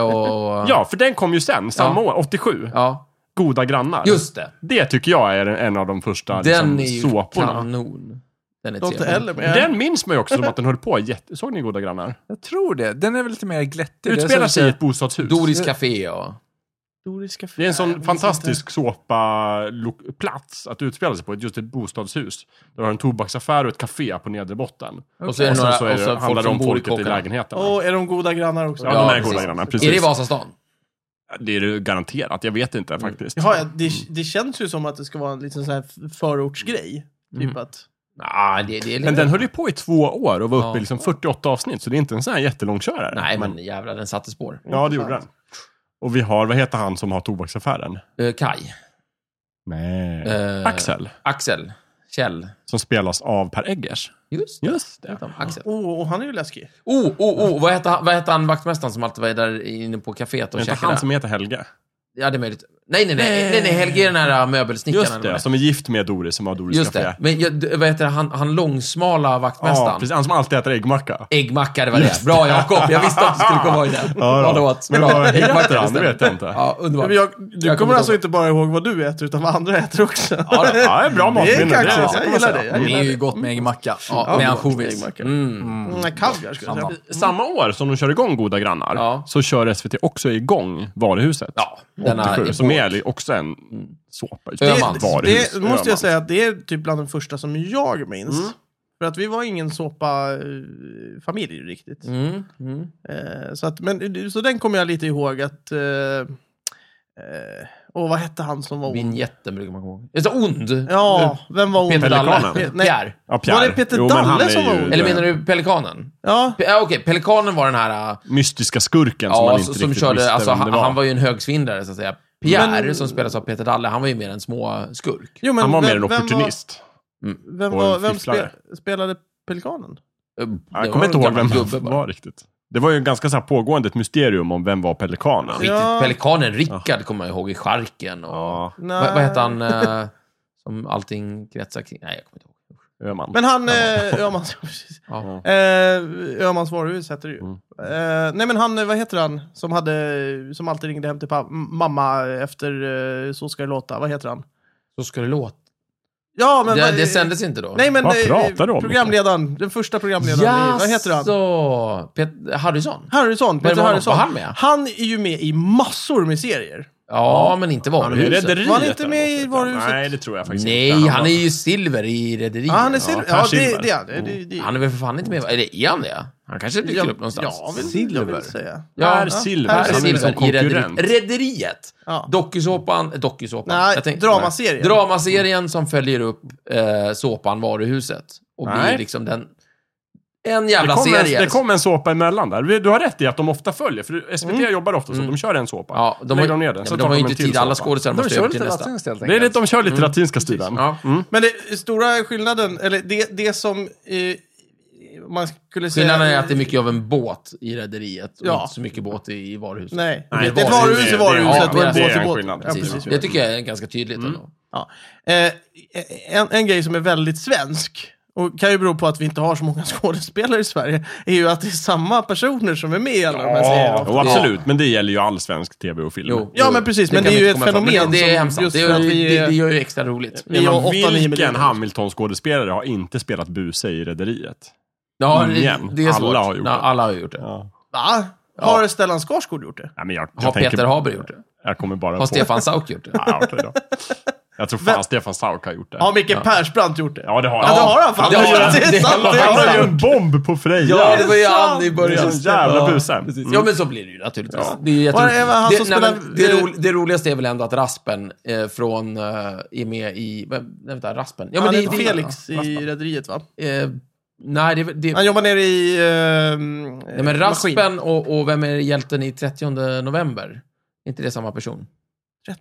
*laughs* och... Ja, för den kom ju sen, samma år, 87. Ja, Goda grannar. just det. Det tycker jag är en- en av de första Den är liksom, ju såporna. kanon. Den är Jag har inte trevlig. heller med. Den minns man ju också som att den höll på jätte... Såg ni Goda grannar? Jag tror det. Den är väl lite mer glättig. Det är Utspelar så- sig i ett bostadshus. Doris Café och... Doriska Det är en Nej, jag sån vet fantastisk såpa-plats att utspela sig på, just ett bostadshus. Där har en tobaksaffär och ett café på nedre botten. Och så är det några... Sen så är och det, så handlar folk det som om bor i folket i kåkarna. inte. lägenheterna. Åh, är de goda grannar också? Ja, de är precis. goda grannar, precis. Är det i Vasastan? Det är det garanterat, jag vet inte faktiskt. Jaha, ja, det, det känns ju som att det ska vara en liten sån här f- förortsgrej. Typ Mm. att... Nej, det, det är lite... Men den höll ju på i två år och var uppe Ja. i liksom 48 avsnitt, så det är inte en sån här jättelångkörare. Nej, men jävlar, den satte spår. Ja, det gjorde den. Och vi har, vad heter han som har tobaksaffären? Eh, Kai. Nej. Eh, Axel, Axel. Kjell. som spelas av Per Eggers. Just det. Just det. Utom Axel. Åh, oh, han är ju läskig. Oh, oh, oh. Vad hette han, vad hette han vaktmästaren som alltid var där inne på kaféet Det och är inte käkade? han som heter Helge. Ja, det är möjligt. Nej, nej, nej. nej, nej Helge är den här äh, möbelsnickaren. Just eller vad det, som är gift med Doris, som har det Doris är. Just Café. det. Men jag, d- vad heter det? han, han långsmala Ja, vaktmästaren? precis. Han som alltid äter äggmacka. Äggmacka, det var det. Bra Jakob, jag visste att du skulle komma ihåg det. Ja, Bra då. låt. Men *laughs* Bra. vad heter Äggmacka, han? just Det det. vet jag inte. Ja, underbart. Men jag, du kommer kommer, alltså ihåg. inte bara ihåg vad du äter, utan vad andra äter också. Ja, det är bra *laughs* det matminne. är kaxigt. Jag kan man gillar säga. det. Jag Det gillar är ju det. gott med äggmacka. Ja, Ja, med gott ansjovis. Äggmacka. Mm. Mm, kaviar skulle jag Samma. säga. Mm. Samma år som de kör igång Goda grannar Ja. så kör SVT också igång Varuhuset. Ja, denna 87, epok. som är li- också en såpa. just det. Öhmans. Varuhus. Det måste jag Öhmans. säga att det är typ bland de första som jag minns. Mm. För att vi var ingen såpa-familj riktigt. Mm. Mm. Eh, så, att, men, så den kommer jag lite ihåg att... Eh, eh, åh, vad hette han som var ond? Vinjetten brukar man komma ihåg. Är det så ond? Ja, vem var ond? Peter Dalle? Pelikanen. Pe- Nej. Pierre? Ja, Pierre. Var det Peter Jo, men han Dalle är som var ju ord? Eller menar du Pelikanen? Ja, Pe- ja, Okej, Pelikanen var den här... äh, Mystiska skurken som man Ja, inte som, som riktigt körde, visste alltså, vem det han, var. han var ju en högsvindlare så att säga. Pierre, Men- som spelas av Peter Dalle, han var ju mer en små skurk. jo, men han var mer vem- en vem var- opportunist. Vem, Och en var, vem fifflare. spe, spelade Pelikanen? Jag kommer inte ihåg vem han var riktigt. Det var ju ganska så här pågående ett mysterium om vem var pelikanen. Ja. Pelikanen Rickard kommer jag ihåg i Charken. Och, Ja, Nej. vad, vad hette han eh, som allting kretsar kring? Nej, jag kommer inte ihåg. Öhman. Men han... eh, Öhmans... *laughs* precis. Ja. Mm. Eh, Öhmans varuhus heter det ju. Eh, nej men han, eh, vad heter han? Som, hade, som alltid ringde hem till pa- m- mamma efter eh, Så ska det låta. Vad heter han? Så ska det låta. Ja men... Det, vad- det sändes inte då. Nej men... Vad eh, pratar du om, Programledaren. Den första programledaren. i- Vad heter han? Jaså? Pet- Harrison? Harrison. Men Peter var han- Harrison. var han med? Han är ju med i massor med serier. Ja, men inte Han är med i Varuhuset. Rederiet Var han inte med i däremot, Varuhuset? Nej, det tror jag faktiskt inte. Nej, han är ju silver i Rederiet. Ja, han är silver. Per Ja, det, Silver. det är han. Det, det, det. Oh. Han är väl för fan inte med Eller är han det? Han kanske dyker upp någonstans. Ja, vill, jag Silver. vill säga. Ja, Per ja. Silver. Per Här är Han är liksom Silver i konkurrent. Rederiet. Rederiet. Ja. Dokusåpan, eh, dokusåpan. Nej, Jag tänkte- dramaserien. Dramaserien som följer upp eh, såpan Varuhuset. Och blir Nej. liksom den... En Det jävla kom, en, serie. det kom en såpa emellan där. Du har rätt i att de ofta följer, för SVT jobbar ofta så. De kör en såpa. Mm. Ja, de Lägger har, de ner ja, den, men så de tar har ju de en inte till tid. såpa. Alla skådisar De måste kör över till lite nästa. latinskt helt Det är enkelt. lite, de kör lite latinska stilen. Ja. Men det stora skillnaden, eller det, det som eh, man skulle säga... Skillnaden är att det är mycket av en båt i rederiet och Ja. inte så mycket båt i, i varuhuset. Nej, Nej, det är ett varuhus i det- det- varuhuset och ja, en det båt är i en båten. skillnad. Ja, Precis. precis. Det tycker jag är ganska tydligt ändå. Ja. Eh, en, en grej som är väldigt svensk, och kan ju bero på att vi inte har så många *laughs* skådespelare i Sverige, är ju att det är samma personer som är med i alla de här serierna. Jo, absolut. Men det gäller ju all svensk tv och film. Jo, Ja, jo, men precis, det men kan det är vi ju inte ett komma ifrån. fenomen Det, det är som- hemskt. just Det, för att är- vi det, är- det gör ju extra roligt. Vi har Men 8-9 vilken miljoner. Hamilton-skådespelare har inte spelat buse i Rederiet? Ja, Ingen. det, det är svårt. Alla har gjort ja, det. alla har gjort det. Ja. Va? Har Stellan Skarsgård gjort det? Nej, men jag, jag Har tänker- Peter Haber gjort det? Jag kommer bara Har på... Stefan Sauk gjort det? Ja, okej då. Jag tror fan Stefan Sauk har gjort det. Har Micke Persbrandt gjort det? Ja, det har Ja, han. det har han fan. det har han. det är Det sant. har Det han. har han gjort. en bomb på Freja. Ja, det var ju han i Det är början. sån jävla buse. Mm. precis. Ja, men så blir det ju naturligtvis. Det är ju Var är han jätteroligt. som det, nej, spelar- men det, ro, det roligaste är väl ändå att Raspen eh, från, eh, är med i... Vem, nej, vänta, Raspen? Ja, Han det- heter det- Felix Raspen. i Rederiet, va? Eh, nej, det, det, Han jobbar nere i... Uh, nej, men Raspen och, och vem är hjälten i 30 november? Är inte det samma person?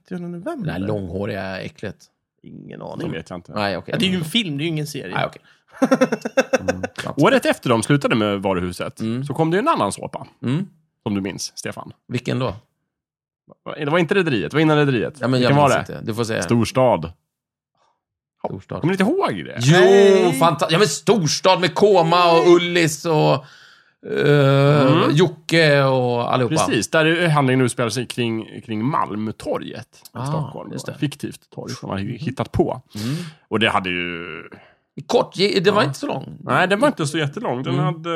30 november? Det här långhåriga äcklet. Ingen Det aning. vet jag inte. Nej, okej. Ja, det är ju en film, det är ju ingen serie. Nej, okej. Året efter de slutade med varuhuset så kom det ju en annan såpa. Mm. Som du minns, Stefan. Vilken då? Det var inte Rederiet, det var innan Rederiet. Ja, men jag Vilken var minns det? inte. Du får säga. Storstad. Storstad. Kommer ni inte ihåg det? Jo, fantastiskt. Ja, men storstad med Koma och Ullis och eh, Mm. Jocke och allihopa. Precis, där är handlingen utspelar sig kring, kring Malmtorget i Ah, Stockholm. just det. Mm. Fiktivt torg som man har hittat på. Och det hade ju... Kort, ge- det var inte så lång. Nej, den var inte så jättelång. Den hade,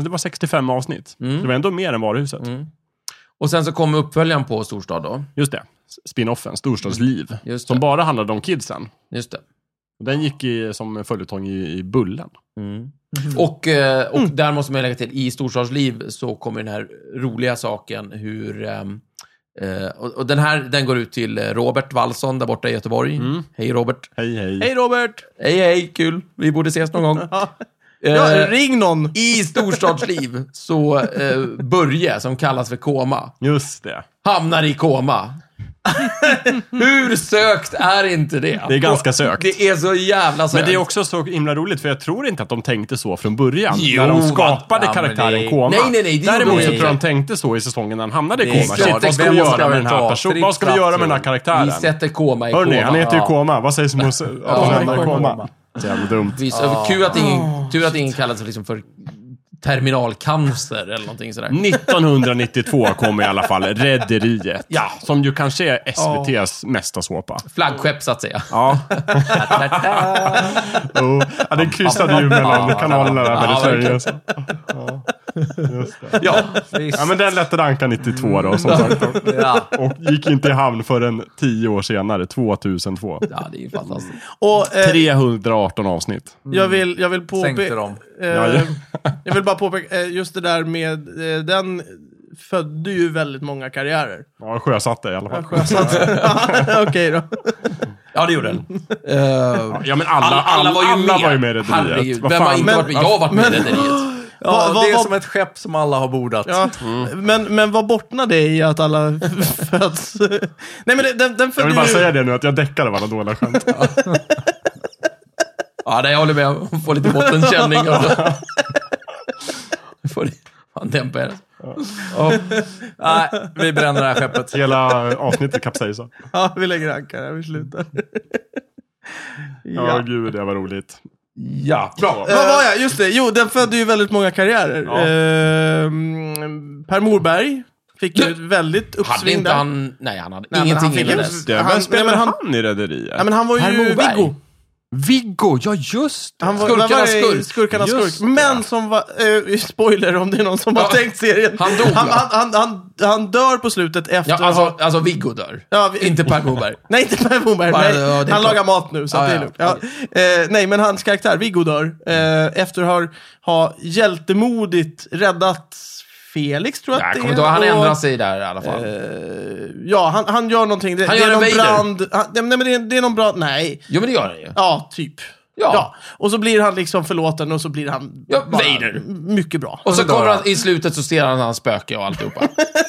det var 65 avsnitt. Mm. Det var ändå mer än varuhuset. Och sen så kom uppföljaren på storstad då. Just det. Spinoffen, Storstadsliv. Just Som det. bara handlade om kidsen. Just det. Den gick i, som följetong i, i Bullen. Och, eh, och där måste man ju lägga till, i storstadsliv så kommer den här roliga saken hur... ehm, eh, och, och den här den går ut till eh, Robert Wallson där borta i Göteborg. Hej Robert. Hej, hej. Hej Robert! Hej, hej, kul. Vi borde ses någon gång. Ja, Eh, ja, ring någon! I storstadsliv så eh, Börje, som kallas för Koma, Just det. hamnar i koma. *laughs* Hur sökt är inte det? Det är ganska sökt. Det är så jävla sökt. Men det är också så himla roligt, för jag tror inte att de tänkte så från början. Jo, när de va? skapade Ja, men karaktären det- Koma. Nej, nej, nej, det Däremot gjorde så de tror jag de inte. tänkte så i säsongen när han hamnade i Det är Koma. klart, Shit, det- vad ska vem vi ska göra med den ta? här personen? Vad ska vi göra med den här karaktären? Vi sätter koma i Hörni, koma. han heter ju Ja. Koma. Vad sägs om att att Ja, han hamnar i Koma. Koma? Så jävla dumt. Vi, så, kul att ingen, tur att ingen kallas för, liksom för terminalcancer eller någonting sådär. 1992 kom i alla fall Rederiet. Som ju kanske är SVT's mesta såpa. Flaggskepp, så att säga. *laughs* Ja. Jo. Oh. ja, den kryssade ju mellan Ja. kanalerna där väldigt Ja, länge. alltså. Ja, Visst. ja, men den lättade anka 92 då, som sagt. Ja. Och gick inte i hamn förrän 10 år senare, 2002. Ja, det är ju Mm. fantastiskt. Och, eh, 318 avsnitt. jag vill, jag vill Sänkte påpeka... dem. Eh, Ja, ja. *laughs* jag vill bara påpeka, eh, just det där med... Eh, den födde ju väldigt många karriärer. *laughs* Ja, sjösatte i alla fall. Sjösatt. Okej då. Ja, det gjorde den. Eh, Ja, men alla, alla, alla, var, ju med i Rederiet. Herregud, Vad vem har fan? inte Men- varit med? Jag har varit med i Rederiet. Ja, Va- va- det är va- som ett skepp som alla har bordat. Ja. Men, men vad bottnar det i att alla *laughs* föds? Nej men det- den, den Jag födde vill bara ju... säga det nu, att jag däckade av alla dåliga skämt. Ja, nej, jag håller med. Hon får lite *laughs* bottenkänning. av det. Får ni- Fan, dämpa er. Nej, vi bränner det här skeppet. Hela avsnittet kapsejsade. Ja, vi lägger ankar här, vi slutar. *laughs* Ja, ja. gud, det var roligt. Ja. Bra. Vad Eh, var jag? Just det, jo den födde ju väldigt många karriärer. Ja. Ehm, per Morberg fick ju ett väldigt Hade uppsving inte där. han... Nej, han hade Nej, men ingenting han fick innan ju- dess. Det, Han- vem spelar nej, men han, han- i Rederiet? Ja, men han var Per ju Morberg. Viggo. Viggo, ja just det. Han var, Skurkarnas vad var det? skurk. Skurkarnas Just skurk. Men som var, eh, spoiler om det är någon som har Ja. tänkt serien. Han dog, han, va? han, han, han, han dör på slutet efter Ja, att alltså, ha alltså, Viggo dör. Ja, vi- Inte Per Morberg. Nej, inte Per Morberg. Bara- Nej, ja, det är han klart. lagar mat nu, så Ja, att det är ja. lugnt. Ja. Eh, nej, men hans karaktär, Viggo, dör. Eh, efter att ha, ha hjältemodigt räddat Felix, tror jag Jag att kommer det inte ihåg, är. han och- ändrar sig där i alla fall. Eh, ja, han, han gör någonting. Det, Han det gör är en någon Vader. brand. Han, nej, men det är, det är någon brand. Nej. Jo, men det gör han ju. Ja, typ. Ja. Ja, och så blir han liksom förlåten och så blir han Ja, bara Vader. mycket bra. Och så Men då- kommer han, i slutet så ser han hans spöke och *laughs* alltihopa.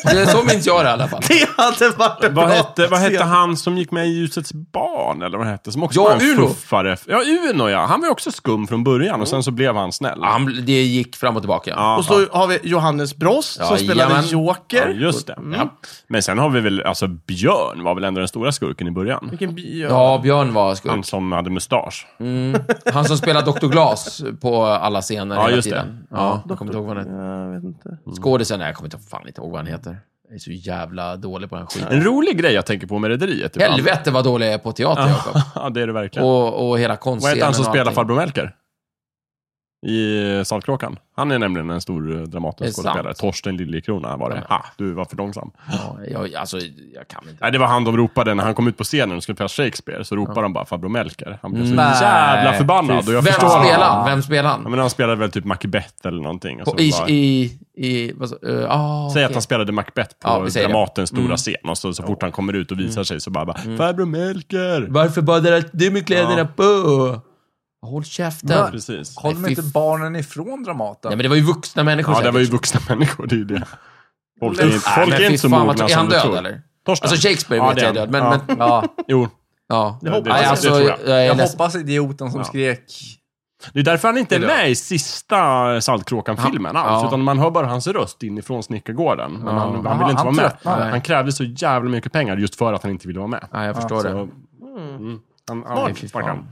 Det är så minns jag det i alla fall. *laughs* Det hade varit en Vad bra hette, vad hette scen. han som gick med i Ljusets barn, eller vad hette, som också Ja, var en Uno. fuffare? Ja, Uno ja. Han var ju också skum från början och sen så blev han snäll. Ja, Han, det gick fram och tillbaka. Ja, Och så har vi Johannes Brost som spelade Jajamän. ja, Joker. just det. Mm. Ja. Men sen har vi väl, alltså Björn var väl ändå den stora skurken i början? Vilken bio. Ja, Björn var skurk. Han som hade mustasch. Han som spelar Dr. Glas på alla scener Ja, Mm. hela just det. tiden. Ja, jag kommer inte ihåg vad han heter. Jag vet inte. Skådisen, nej jag kommer inte, fan inte ihåg vad han heter. Jag är så jävla dålig på den skiten. En rolig grej jag tänker på med Rederiet. ibland. Helvete vad dålig jag är på teater, Jakob. Ja, det är det verkligen. Och, och hela vad konstscenen heter han som och spelar allting. Farbror Melker? I eh, Saltkråkan. Han är nämligen en stor eh, Det är dramatisk sant. skådespelare. Torsten Liljekrona var det. Ah, du var för långsam. Ja, jag, alltså, jag kan inte. Nej, det var han de ropade när han kom ut på scenen och skulle spela Shakespeare. Så ropade de bara Farbror Melker. Han blev så Nej. jävla förbannad. Och jag Vem förstår spelar honom. han? Vem spelar Ja, han? men han spelade väl typ Macbeth eller någonting. Och så På, i, bara, i, i, vad så, uh, ah, Säg att okej. han spelade Macbeth på Ja, vi säger det. Mm. Dramatens stora scen. Och så, så fort han kommer ut och visar sig så bara, bara Farbror Melker. Varför badar du med kläderna Ja. på? Håll käften. Va? Precis. Håller man Nej, inte fy barnen ifrån Dramaten? Nej, men det var ju vuxna människor Ja, det säkert. var ju vuxna *laughs* människor. Det är ju det. Folk är, Nej, inte- Nej, folk men är fy inte så fan, mogna vad- Är som han du död tror. eller? Torsten? Alltså Shakespeare Ja, vet det jag är är han. död, men... Ja. men Ja, Jo, ja. det, det, Nej, alltså, det tror jag. jag är jag ledsen. hoppas idioten som Ja. skrek. Det är därför han inte är Det är det. med i sista Saltkråkan-filmen alls. Ja. Utan man hör bara hans röst inifrån snickargården. Men han, han ville Aha, inte han vara med. tröttnade. Han krävde så jävla mycket pengar just för att han inte ville vara med. Ja, jag förstår Så, det. mm. han, Nej, han, fy stack fan. han.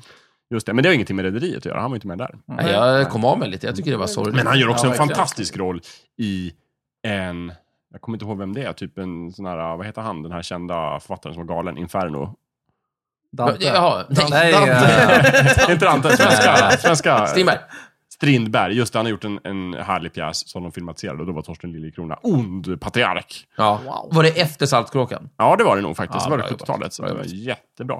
Just det, men det har ingenting med Rederiet att göra. Han var inte med där. Nej, Mm. jag kom av mig lite. Jag tycker det var sorgligt. Men han gör också Ja, en verkligen. fantastisk roll i en... Jag kommer inte ihåg vem det är. Typ en sån här, vad heter han, den här kända författaren som var galen? *laughs* Inferno. Dante. Jaha, nej. Nej, eh, *laughs* Dante. inte han, den svenska, svenska... Strindberg. Strindberg. Just det, han har gjort en, en härlig pjäs som de filmatiserade och då var Torsten Liljekrona ond patriark. Ja. Var det efter Saltkråkan? Ja, det var det nog faktiskt. Ja, det var det bra jobbat. 70-talet. Så Bra det var jobbat. jättebra.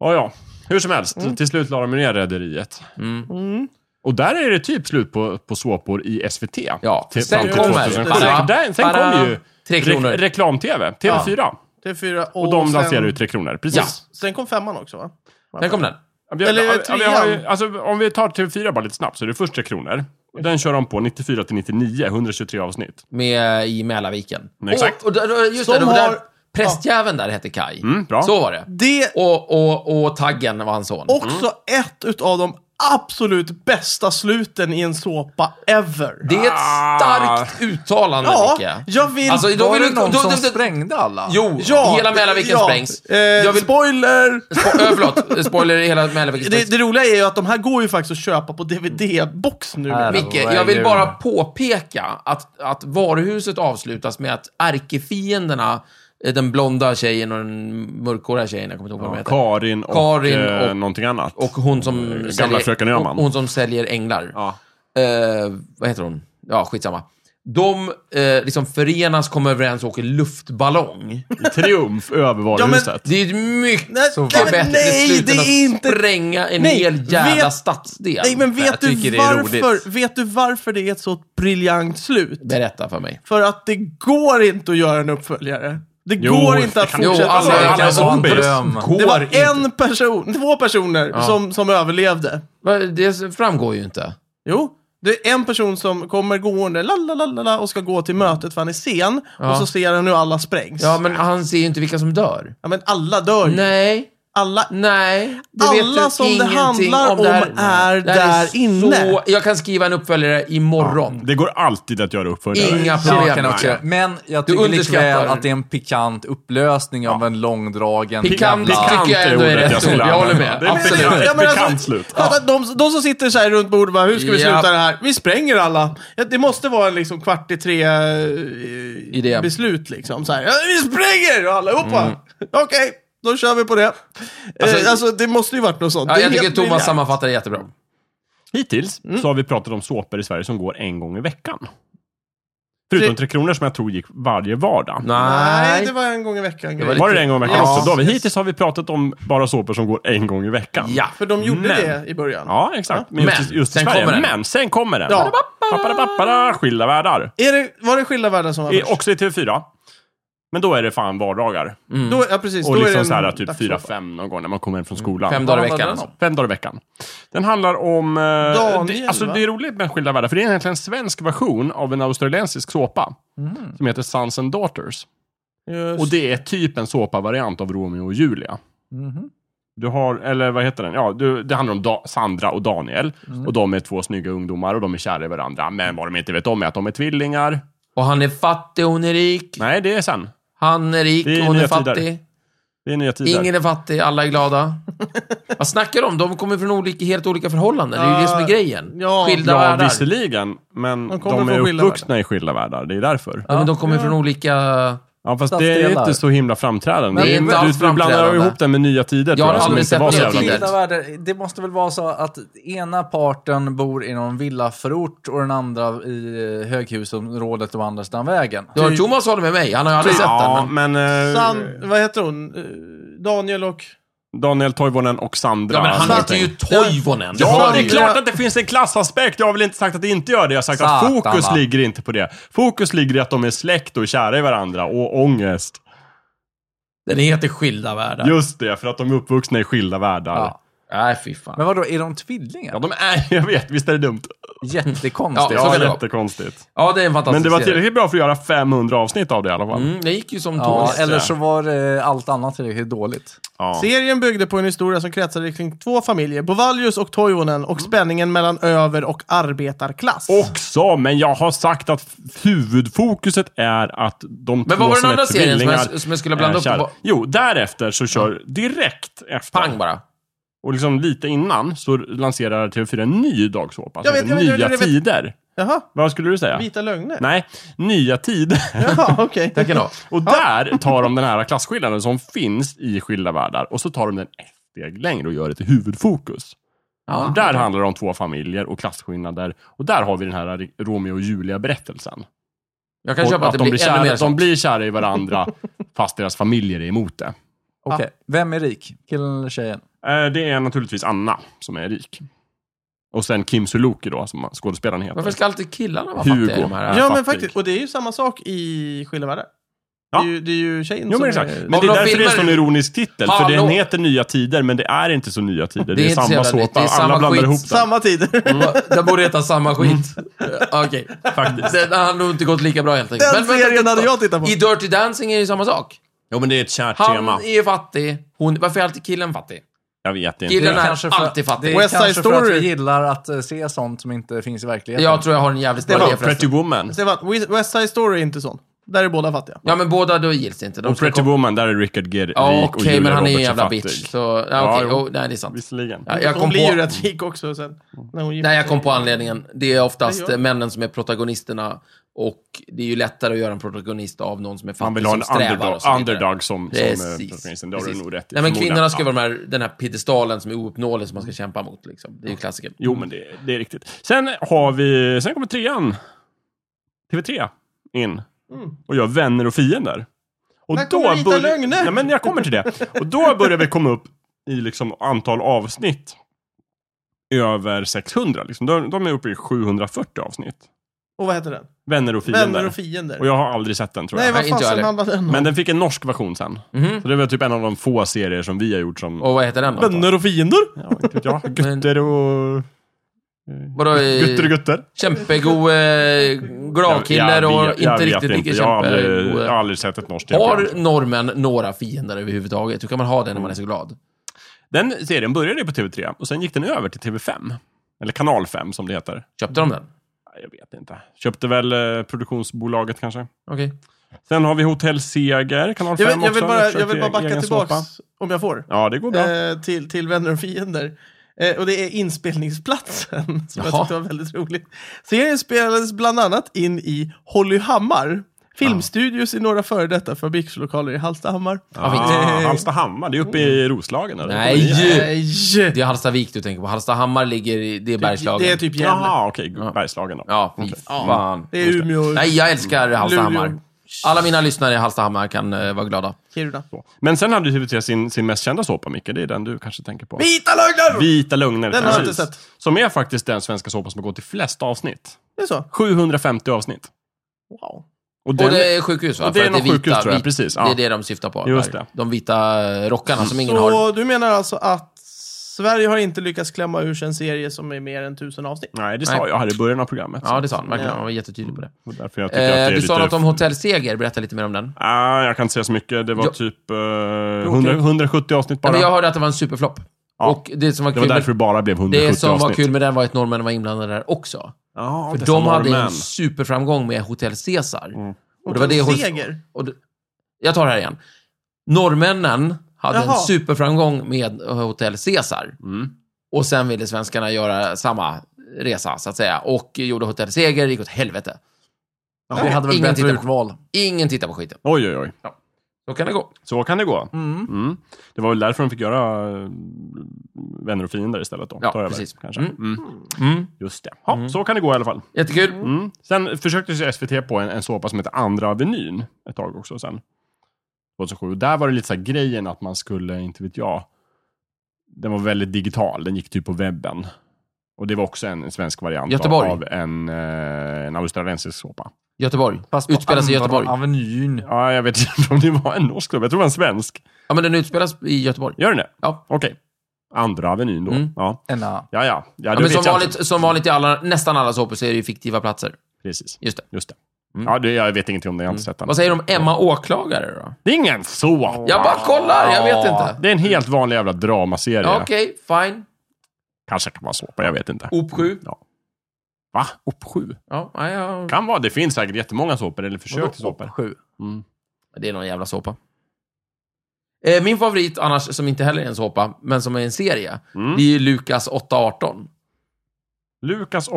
Ja, ja. Hur som helst, till slut la de ner Rederiet. Mm. Och där är det typ slut på, på såpor i SVT. Ja. Till, Sen fram till kommer- 2007. Bara- Där, sen bara- kom ju Tre re, kronor. reklam-tv, TV4. TV4 och, Och de sen, lanserade ju Tre Kronor. Ja. Precis. Sen kom femman också va? Där kom den. Ja, Vi, Eller ja, ja, vi har ju, trean. Mm. alltså, om vi tar TV4 bara lite snabbt så är det först Tre Kronor. Och Den kör de på 94 till 99, 123 avsnitt. Med, eh, I Mälarviken. Mm, exakt. Och, och, där- just Som det, det var har- där, prästjäveln där hette Kai. Mm, bra. Så var det. Det Och, och, och taggen var hans son. också Mm. ett utav de absolut bästa sluten i en såpa ever. Det är ett starkt uttalande, ja, Micke. jag vill... Alltså, då Var vill det du... någon då- som då- då- sprängde alla? Jo, ja, hela Mälarviken ja. sprängs. Eh, Jag vill... Spoiler! Spo- ö, förlåt, spoiler i hela Mälarviken sprängs. Det, det roliga är ju att de här går ju faktiskt att köpa på DVD-box nu. Här. Micke, Vad är jag vill det? bara påpeka att, att varuhuset avslutas med att ärkefienderna, eh, den blonda tjejen och den mörkhåriga tjejen, jag kommer inte ihåg vad de heter. Karin och, Karin eh, och- någonting annat. Och hon som, Gamla säljer, fröken Öhman. hon, hon som säljer änglar. Ja. Eh, vad heter hon? Ja, skitsamma. De eh, liksom förenas, kommer överens och åker luftballong. I triumf över varuhuset. Det är ju ett mycket Nej, nej, men bättre nej, beslut det än är att inte- spränga en Nej, hel jävla vet- stadsdel. Nej, men vet Jag du, tycker det är roligt. varför, vet du varför det är ett så briljant slut? Berätta för mig. För att det går inte att göra en uppföljare. Det Jo, går inte att det kan- jo, fortsätta så. alla- alla- Det var en Zombies. dröm. Det var alltså, inte. en person, två personer som, som överlevde. Va, Det framgår ju inte. Jo, det är en person som kommer gående la, la, la, la, la, och ska gå till mötet för han är sen. Ja. Och så ser han hur alla sprängs. Ja, men han ser ju inte vilka som dör. Ja, men alla dör ju. Nej, Alla nej. Det Alla vet du som det ingenting handlar om, det här. om är Det här där inne. Så, jag kan skriva en uppföljare imorgon. Det går alltid att göra uppföljare. Inga Ja, problem. kan jag också. Men jag tycker underskattar- likväl att det är en pikant upplösning av en långdragen Pikant jävla... tycker jag ändå är ordet rätt skulle ord. Jag håller använda. med. Det är Absolut. bekant- Ja, men alltså- bekant slut. Fatta, de, de som sitter så här runt bordet bara, hur ska vi Ja. sluta det här? Vi spränger alla. Ja, Det måste vara en liksom kvart i tre eh, Idé. beslut liksom. Så här, ja, vi spränger och allihopa. Okej, då kör vi på det. Alltså, eh, Alltså- alltså det måste ju varit något sånt. Ja, Det är jag tycker helt Thomas briljant. sammanfattar det jättebra. Hittills Mm. så har vi pratat om såpor i Sverige som går en gång i veckan. Förutom Tre Kronor som jag tror gick varje vardag. Nej, det var en gång i veckan. Det var grej. Var det det en gång i veckan Ja. också? Då har vi, hittills har vi pratat om bara såpor som går en gång i veckan. Ja. För de gjorde Men- det i början. Ja, exakt. Men just, Men, just i sen Sverige. kommer den. Men sen kommer den. Ja. Pappadapappada, Skilda världar. Är det, var det Skilda världar som var Eh, I, först? också i TV4. Men då är det fan vardagar. Mm. Då, ja, precis. Och då är liksom det så här en typ dagsopera. 4-5 någon gång när man kommer hem från skolan. Fem dagar i Vad handlar veckan den alltså. om? Fem dagar i veckan. Den handlar om... eh, Daniel, det, alltså, va? det är roligt med Skilda världar, för det är egentligen en svensk version av en australiensisk såpa. Som heter Sons and Daughters. Just. Och det är typ en såpa-variant av Romeo och Julia. Mhm. Du har, eller vad heter den? Ja, du, det handlar om da- Sandra och Daniel. Och de är två snygga ungdomar och de är kära i varandra. Men vad de inte vet om är att de är tvillingar. Och han är fattig, hon är rik. Nej, det är sen. Han är rik, Det är hon är nya fattig. tider. Det är nya tider. Ingen är fattig, alla *laughs* är glada. Vad snackar de om? De kommer från olika, helt olika förhållanden. Det är ju det som är grejen. Ja, Skilda ja, världar. visserligen. Men de, De kommer är från skilda uppvuxna i skilda världar. Det är därför. Nej, men de kommer från olika... Ja, fast det är Stadsdelar. inte så himla framträdande. Nej, Du- inte alls du, du blandar framträdande. ihop den med nya tider, Jag har tror som aldrig inte sett var Alltså, så Nya jävla Tider. mycket. Skilda världar, det måste väl vara så att ena parten bor i någon villaförort och den andra i eh, höghusområdet och andra sidan vägen. Du har Thomas håller med mig. Han har ju aldrig sett den. Typ. Ja, men- men... eh, San, vad heter hon? Eh, Daniel och... Daniel Toivonen och Sandra. Ja, men han heter någonting. ju Toivonen. Du Ja, hör det är ju. klart att det finns en klassaspekt. Jag har väl inte sagt att det inte gör det. Jag har sagt att Satan, fokus va. ligger inte på det. Fokus ligger i att de är släkt och kära i varandra och ångest. Den heter Skilda världar. Just det, för att de är uppvuxna i skilda världar. Ja, Ja. Nej, fy fan. Men vadå, är de tvillingar? de är... *laughs* Jag vet, visst är det dumt? Jättekonstigt. Ja, så Ja, kan det vara. jättekonstigt. Ja, det är en fantastisk Men det var serie. tillräckligt bra för att göra 500 avsnitt av det i alla fall. Mm, det gick ju som Ja, tåget. eller så var det allt annat tillräckligt dåligt. Ja. Serien byggde på en historia som kretsade kring två familjer, Bovallius och Toivonen, och spänningen mellan över och arbetarklass. Också, men jag har sagt att f- huvudfokuset är att de Men två Eh, vad var den som är andra serien som tvillingar jag, som jag skulle blanda är upp? kära. På? Mm. Jo, därefter så kör direkt efter. Pang bara. Och liksom lite innan så lanserar TV4 en ny dagsåpa. Jag som vet, heter jag vet, jag vet, nya jag vet. tider. Jaha, Vad skulle du säga? vita *laughs* lögner? Nej, nya tider. Jaha, okej. Tack ändå. Och där tar de den här klasskillnaden som finns i skilda världar och så tar de den ett steg längre och gör det till huvudfokus. Ja. Där handlar det om två familjer och klasskillnader. Och där har vi den här Romeo och Julia-berättelsen. Jag kan Och köpa att det de blir ännu mer att de sånt. blir kära i varandra *laughs* fast deras familjer är emot det. Okej, vem är rik? Killen eller tjejen? Eh, Det är naturligtvis Anna som är rik. Och sen Kim Sulocki då, som skådespelaren heter. Varför ska alltid killarna vara Hugo. fattiga i de här? Ja, men fattig. faktiskt. Och det är ju samma sak i Skilda världar. Ja. Det, är ju, det är ju tjejen Jo, som men exakt. är... Men det är Om de därför det är en filmar- sån ironisk titel. För Hallå. den heter Nya Tider, men det är inte så Nya Tider. Det är, Det är inte så samma jävla nytt. såpa. Det är samma Alla blandar skit. ihop den. Samma tid. *laughs* Den borde heta samma skit. Eh, Okej. Mm. Faktiskt. Den har nog inte gått lika bra helt enkelt. Den Men vänta, serien titta. hade jag tittat på. I Dirty Dancing är det ju samma sak. Jo, men det är ett kärt Han tema. är fattig, hon... Varför är alltid killen fattig? Jag vet inte. Killen Det är är kanske för- alltid Det fattig. är West Side kanske för att Story. vi gillar att eh, se sånt som inte finns i verkligheten. Jag tror jag har en jävligt bra idé Vadå, förresten. Pretty Woman? Stefan, West- West Side Story är inte sån. Där är båda fattiga. Ja, men båda då gills det inte. De Och ska Pretty komma- Woman, där är Richard Gere rik Ja, och okej, Julia men han är Roberts en jävla fattig. bitch. Så, ja, okej. Ja, jo. oh, nej, det är sant. Visserligen. Ja, jag Hon kom blir ju på... rätt rik också sen. När hon gifter Nej, jag kom sig. på anledningen. Det är oftast Nej, jag- eh, männen som är protagonisterna och det är ju lättare att göra en protagonist av någon som är fattig Man vill ha en som strävar underdog, och så vidare. underdog som, som eh, Precis. protagonisten. Det har du precis. nog rätt i, Nej, men förmodligen. kvinnorna ska Ja. vara de här, den här piedestalen som är ouppnåelig som man ska kämpa mot. Liksom. Det är ju klassiker. Jo, men det, det är riktigt. Sen har vi... Sen kommer trean. TV3 in. Mm. Och gör Vänner och fiender. Och När kommer Vita bör- lögner? Nej, men jag kommer till det. Och då börjar vi komma upp i liksom antal avsnitt. Över 600 liksom. De, de är uppe i 740 avsnitt. Och vad heter den? Vänner och fiender. Vänner och fiender. Och jag har aldrig sett den tror Nej, jag. Nej, vad inte jag fasen heller. handlade den om? Men den fick en norsk version sen. Mhm. Så det var typ en av de få serier som vi har gjort som... Och vad heter den då? Vänner och fiender? Ja, inte vet jag. Gutter och... Vadå, eh, Gutter och gutter. Kämpego, eh, glad kille Jag- jag och vet- inte jag vet riktigt lika Jag har aldrig, kämpego. jag har aldrig sett ett norskt Har tv-program. norrmän några fiender överhuvudtaget? Hur kan man ha det när man är så glad? Den serien började ju på TV3 och sen gick den över till TV5. Eller Kanal 5 som det heter. Köpte de den? Nej, Jag vet inte. Köpte väl eh, produktionsbolaget kanske. Okej. Sen har vi Hotell Seger, Kanal 5 Jag vill, jag vill också. bara, jag försökte vill bara backa egen tillbaks, såpa. om jag får. Ja, det går bra. Eh, till, till Vänner och fiender. Eh, och det är inspelningsplatsen, *laughs* som jag Jaha. tyckte var väldigt roligt. Serien spelades bland annat in i Hollyhammar, filmstudios i några före detta fabrikslokaler i Hallstahammar. ah, Hallstahammar, det är uppe i Roslagen. Eller? Eh, Nej! Nej. Det är Hallstavik du tänker på. Hallstahammar ligger i... Det är Bergslagen. Det är typ Gävle. Jaha, okej. Bergslagen då. Ja, fy fan. Det är Umeå, Nej, jag älskar Luleå. Hallstahammar. Alla mina lyssnare i Hallstahammar kan eh, vara glada. Kiruna. Så. Men sen hade ju TV3 sin, sin mest kända såpa, Micke. Det är den du kanske tänker på. Vita lögner! Vita lögner. Den har jag inte precis. sett. Som är faktiskt den svenska såpan som har gått i flest avsnitt. Det är så? 750 avsnitt. Wow. Och Och den, det är sjukhus va? och det är För att någon sjukhus, tror jag. vit- Precis, ja. Det är det de syftar på. Just där. det. De vita rockarna som ingen har. Så du menar alltså att Sverige har inte lyckats klämma ur sig en serie som är mer än tusen avsnitt? Nej, det Nej. sa jag här i början av programmet. Ja, det sa han. Verkligen. Ja. Han var jättetydlig på det. Och därför jag tycker att det Eh, är du sa lite... något om Hotell Seger. Berätta lite mer om den. Ah, jag kan inte säga så mycket. Det var Jo. typ eh, 100, 170 avsnitt Ja, bara. men jag hörde att det var en superflopp. Ja. Och det som var Det var kul, därför med, det bara blev 170 det som var avsnitt. kul med den var att norrmännen var inblandade där också. Ja, För dessa de hade norrmän. en superframgång med Hotell Cesar. Mm. Och det var det hon- Seger? Och det, jag tar det här igen. Norrmännen hade Jaha. en superframgång med Hotell Cesar. Mm. Och sen ville svenskarna göra samma resa, så att säga. Och gjorde Hotell Seger, gick åt helvete. Vi hade väl Ingen bättre tittar på- urval. Ingen tittar på skiten. Oj, oj, oj. Så kan det gå. Så kan det gå. Mm. Mm. Det var väl därför de fick göra eh, vänner och fiender istället då. Ja, Ta över, precis. Kanske. Mm. Mm. Mm. Just det. Ja, Så kan det gå i alla fall. Jättekul. Mm. Sen försökte ju SVT på en, en såpa som heter Andra Avenyn ett tag också sen. 2007. Och där var det lite så här grejen att man skulle, inte vet jag, den var väldigt digital. Den gick typ på webben. Och det var också en, en svensk variant Göteborg. av en, eh, en australiensisk såpa. Göteborg. Fast på Utspelas i andra Göteborg. Avenyn. Ja, jag vet inte *laughs* om det var en norsk såpa. Jag tror det var en svensk. Ja, men den utspelas i Göteborg. Gör den det? Ja. Okej. Andra Avenyn då. Mm. Ja. Enna. Ja, ja. ja, Ja, det men vet som, jag vanligt, inte. som vanligt i alla, nästan alla såpor så är det ju fiktiva platser. Precis. Just det. Just det. Mm. Ja, det, jag vet ingenting om det. Jag har inte sett den. Vad säger du om Emma Åklagare då? Det är ingen såpa. Jag bara kollar, jag vet inte. Det är en helt vanlig jävla dramaserie. Ja, Okej, fine. Kanske kan vara såpa, jag vet inte. Mm, Op 7. Ja. Va? Op 7? Ja, ja, ja. Kan vara. Det finns säkert jättemånga såpor, eller försök till såpor. Sju. Mm. Det är någon jävla såpa. Eh, min favorit annars, som inte heller är en såpa, men som är en serie, Mm. det är ju Lukas 818. Lukas Ja.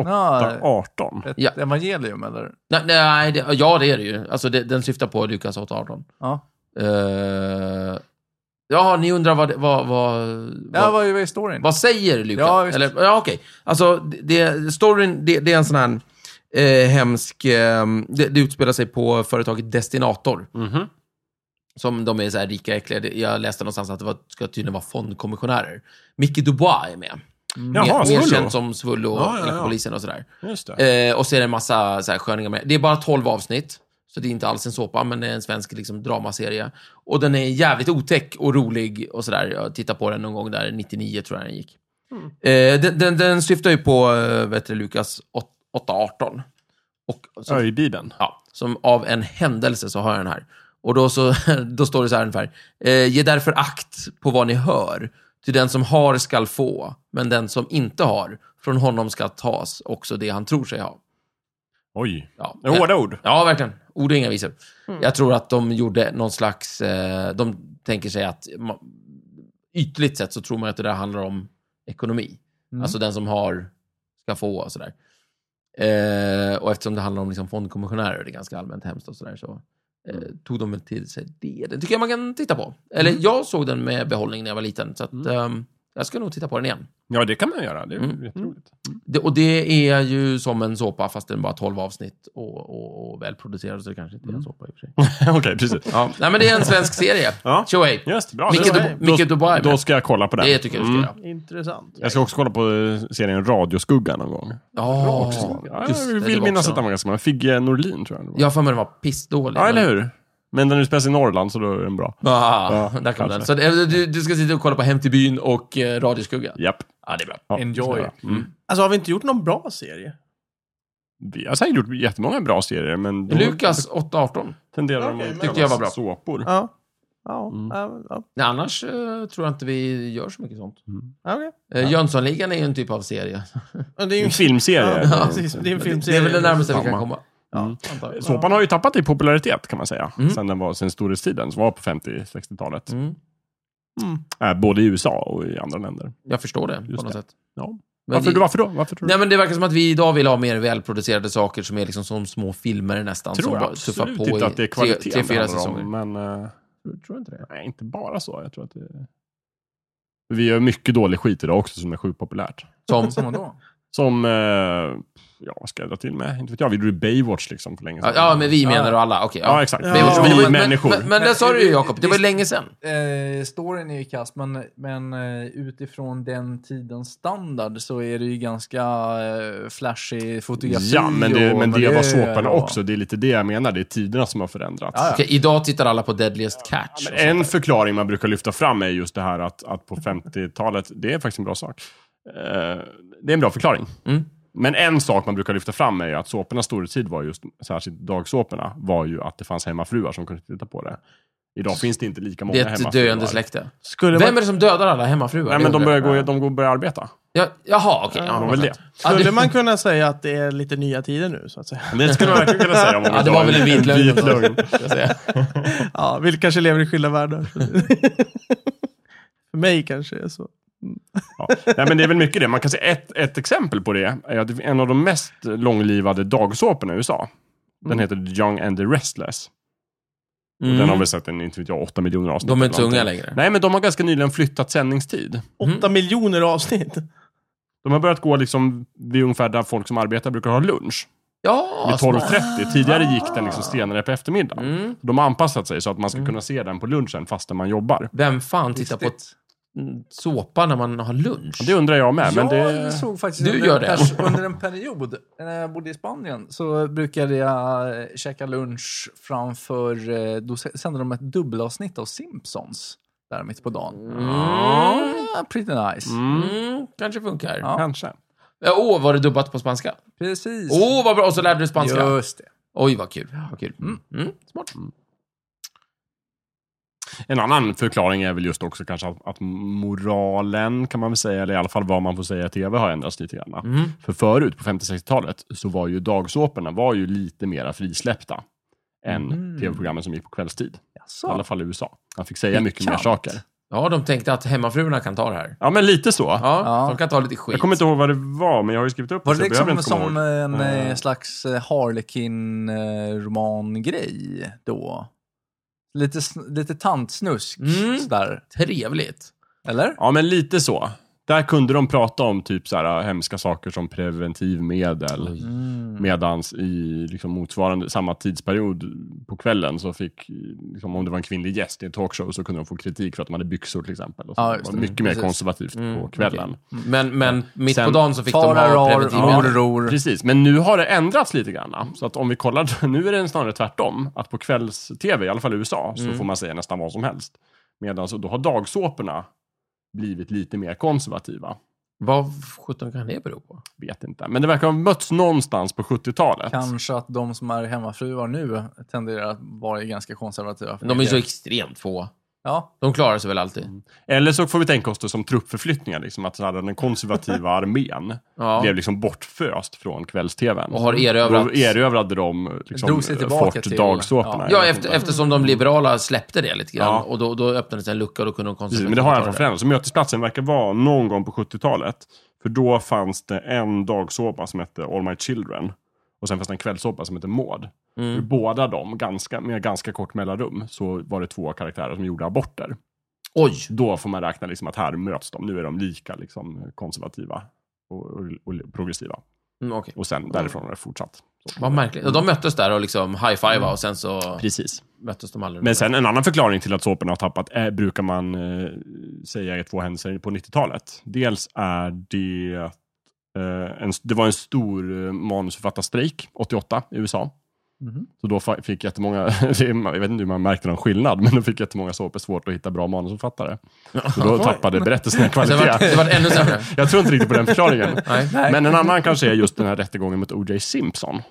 818. Ett Ja. evangelium eller? Nej, nej det, ja det är det ju. Alltså det, den syftar på Lukas 818. Ja. Eh, ja, ni undrar vad, det- vad, vad, Ja, vad, vad är storyn? vad säger Lukas? Ja, visst. Eller, ja okej. Alltså, det, det- storyn, det, det är en sån här eh, hemsk... Eh, det, det utspelar sig på företaget Destinator. Mhm. Som de är så här rika äckliga. Det- Jag läste någonstans att det var, ska tydligen vara fondkommissionärer. Micke Dubois är med. Mm. Jaha, mer, mer Svullo. känd som Svullo och Ja, ja, ja. polisen och sådär. Just det. Eh, och så är det en massa så här, sköningar med. Det är bara 12 avsnitt. Så det är inte alls en såpa, men det är en svensk liksom, dramaserie. Och den är jävligt otäck och rolig och sådär. Jag tittade på den någon gång där, 99 tror jag den gick. Eh, den, den, den syftar ju på, eh, vet du, Lukas 818. Och så Öjbibeln. Ja, som av en händelse så har jag den här. Och då, så, *laughs* då står det så här ungefär. Eh, ge därför akt på vad ni hör. Till den som har skall få, men den som inte har, från honom ska tas också det han tror sig ha. Oj. Ja, Det är hårda ord. ja verkligen. Ord och inga visor. Jag tror att de gjorde någon slags... Eh, de tänker sig att... ma- Ytligt sett så tror man att det där handlar om ekonomi. Alltså den som har ska få och sådär. Eh, och eftersom det handlar om liksom fondkommissionärer och det är ganska allmänt hemskt och sådär så eh, tog de väl till sig det. Det tycker jag man kan titta på. Eller jag såg den med behållning när jag var liten så att ehm, jag ska nog titta på den igen. Ja, det kan man göra. Det är Mm. jätteroligt. *laughs* Det, och det är ju som en såpa fast den bara 12 avsnitt och, och, och välproducerad så det kanske inte är en såpa i och för sig. Okej, precis. Ja, nej men det är en svensk serie. Ja. Tjohej! Just bra. Micke Då- Du- Micke då, Dubois är med. då ska jag kolla på den. Det tycker jag du ska Mm. göra. Intressant. Jag ska också kolla på eh, serien Radioskugga någon gång. Ja, Ja, just det, jag det vill var minnas också- att den var ganska bra. Figge Norlin tror jag det var. Jag har för mig den var Ja, pissdålig. men- eller hur? Men den utspelar sig i Norrland, så då är den bra. Ah, Ja, där kom kanske. den. Så det- du, du ska sitta och kolla på Hem till byn och eh, Radioskugga. Japp. Ja, det är bra. Ja, Enjoy. det ska jag göra. Mm. Alltså har vi inte gjort någon bra serie? Vi har säkert gjort jättemånga bra serier, men då Lukas 818. tenderar de Okej, men- att Tyckte jag var bra. såpor. Ja. Ja, ja, Nej, annars eh, tror jag inte vi gör så mycket sånt. ja, okej. Eh, Jönssonligan är ju en typ av serie. Ja, Det är ju En filmserie. Ja, precis. Det är en Det filmserie. är väl det närmaste vi kan Samma. Mm. komma. Ja, Såpan har ju tappat i popularitet kan man säga. Sen den var sen storhetstiden, som var på 50-60-talet. Mm. Äh, både i USA och i andra länder. Jag förstår det på Just något det. sätt. Ja. Men Varför, vi- varför då? Varför tror du? Nej, men det verkar som att vi idag vill ha mer välproducerade saker som är liksom som små filmer nästan. tror som jag bara tuffar absolut på inte i att det är tre, kvaliteten tre, fyra det handlar säsonger. om, men eh, Tror inte det? nej, inte bara så. Jag tror att det... Vi gör mycket dålig skit idag också som är sjukt populärt. Som, Som då? Som, eh, ja vad ska jag dra till med? Inte vet jag, vi gjorde Baywatch liksom för länge sedan. Ja, men vi menar då alla. Okej. Ja, exakt. Ja. Vi, Ja. vi Men- men- människor. Men, men det sa du ju, Jakob. Det var ju Visst. länge sedan. Eh, storyn är ju kass, men, men eh, utifrån den tidens standard så är det ju ganska eh, flashig fotografi. ja, men det, och- men det var såporna ja. också. Det är lite det jag menar. Det är tiderna som har förändrats. Ja, ja. Okej, idag tittar alla på Deadliest Catch. Men en förklaring man brukar lyfta fram är just det här att, att på 50-talet, det är faktiskt en bra sak. Eh, det är en bra förklaring. Mm. Men en sak man brukar lyfta fram är ju att såpornas storhetstid var just, särskilt dagsåporna, var ju att det fanns hemmafruar som kunde titta på det. Idag finns det inte lika många Det är ett hemmafruar. döende släkte. Skulle Vem är man, det som dödar alla hemmafruar? Nej, Det men de undrar börjar, jag. gå, de går- börjar arbeta. Ja, jaha, okej. Det ja, var väl det. sant. Ja, skulle det- man kunna säga att det är lite nya tider nu, så att *laughs* säga? Det skulle man verkligen kunna säga. om man Ja, det tar var väl en vit lögn. *laughs* ska jag säga. Ja, vi kanske lever i skilda världar. *laughs* För mig kanske det är så. Ja. Nej, men det är väl mycket det. Man kan se ett, ett exempel på det. Är att en av de mest långlivade dagsåporna i USA. Mm. Den heter The Young and the Restless. Och Den har väl sett en, inte vet jag, 8 miljoner avsnitt. De är eller inte så unga någonting. längre. Nej, men de har ganska nyligen flyttat sändningstid. Åtta miljoner avsnitt. De har börjat gå liksom vid ungefär där folk som arbetar brukar ha lunch. Ja, Vid smart. Ah. 12.30. Tidigare gick den liksom senare på eftermiddagen. Mm. De har anpassat sig så att man ska kunna se den på lunchen fastän man jobbar. Vem fan tittar på Visst. mm, såpa när man har lunch? Det undrar jag med. Men det... Jag såg faktiskt Du under, gör en det. pers- under en period, eh, när jag bodde i Spanien, så brukade jag eh, käka lunch framför... eh, Då s- sände de ett dubbelavsnitt av Simpsons där mitt på dagen. Ja, pretty nice. Mm, Mm, kanske funkar. Åh, Ja. kanske. oh, var det dubbat på spanska? Precis. Åh, vad bra! Och så lärde du spanska. Just det. Oj, vad kul. Vad kul. Mm. Mm. Smart. En annan förklaring är väl just också kanske att, att moralen, kan man väl säga, eller i alla fall vad man får säga i tv, har ändrats lite grann. Mm. För förut, på 50-60-talet, så var ju dagsåporna var ju lite mera frisläppta än Mm. tv-programmen som gick på kvällstid. I alla Jaså? fall i USA. Man fick säga mycket mer Pikant. saker. Ja, de tänkte att hemmafruarna kan ta det här. Ja, men lite så. Ja, Ja. de kan ta lite skit. Jag kommer inte ihåg vad det var, men jag har ju skrivit upp Var så det jag behöver liksom inte komma som ihåg. en eh, Eh. slags eh, Harlequin-roman-grej då? Lite, sn- lite tantsnusk Mm. sådär, Trevligt. eller? Ja, men lite så. Där kunde de prata om typ så här, hemska saker som preventivmedel. Mm. Mm. Medans i liksom motsvarande, samma tidsperiod på kvällen så fick, liksom, om det var en kvinnlig gäst i en talkshow så kunde de få kritik för att de hade byxor till exempel. Och så. Ja, det just var det. mycket mer Precis. Mm, konservativt på kvällen. Men, men mitt Sen- på dagen så fick de ha Farar, preventivmedel. morror. Precis, men nu har det ändrats lite grann. Så att om vi kollar, *laughs* nu är det snarare tvärtom. Att på kvälls-tv, i alla fall i USA, Mm. så får man säga nästan vad som helst. Medan så då har dagsåporna blivit lite mer konservativa. Vad sjutton kan det bero på? Vet inte. Men det verkar ha mötts någonstans på 70-talet. Kanske att de som är hemmafruar nu tenderar att vara ganska konservativa. för De är min så del. extremt få. Ja, De klarar sig väl alltid. Eller så får vi tänka oss det som truppförflyttningar, liksom, att så här, *laughs* den konservativa armén Ja. blev liksom bortföst från kvälls-tvn. Och har erövrat- Då erövrade de liksom, Drog sig tillbaka fort till- dagsåporna. Ja. Ja, efter, eftersom de liberala släppte det lite grann. Ja. Och då, då öppnades en lucka och då kunde de Precis, konservativa men det har i alla ta fall förändrats. Så Mötesplatsen verkar vara någon gång på 70-talet. För då fanns det en dagsåpa som hette All My Children. Och sen fanns det en kvällsåpa som hette Maud. Ur Mm. Mm. Båda dem, ganska, med ganska kort mellanrum, så var det två karaktärer som gjorde aborter. Oj! Då får man räkna liksom att här möts de. Nu är de lika liksom, konservativa och, och, och progressiva. Mm, okej. Och sen därifrån har det fortsatt. Så. Vad märkligt. Och de möttes där och liksom high-fivade och sen så Precis. möttes de aldrig. Mm. Men sen en annan förklaring till att såporna har tappat är, brukar man eh, säga är två händelser på 90-talet. Dels är det eh, en, det var en stor eh, manusförfattarstrejk 88 i USA. Mhm. Så då fa- fick jättemånga, *laughs* det är- jag vet inte hur man märkte någon skillnad, men då fick jättemånga såpor svårt att hitta bra manusförfattare. Så då tappade berättelserna i Alltså, det var, kvalitet. det var ännu sämre. Jag tror inte riktigt på den förklaringen. Nej. Men en annan kanske är just den här rättegången mot O.J. Simpson.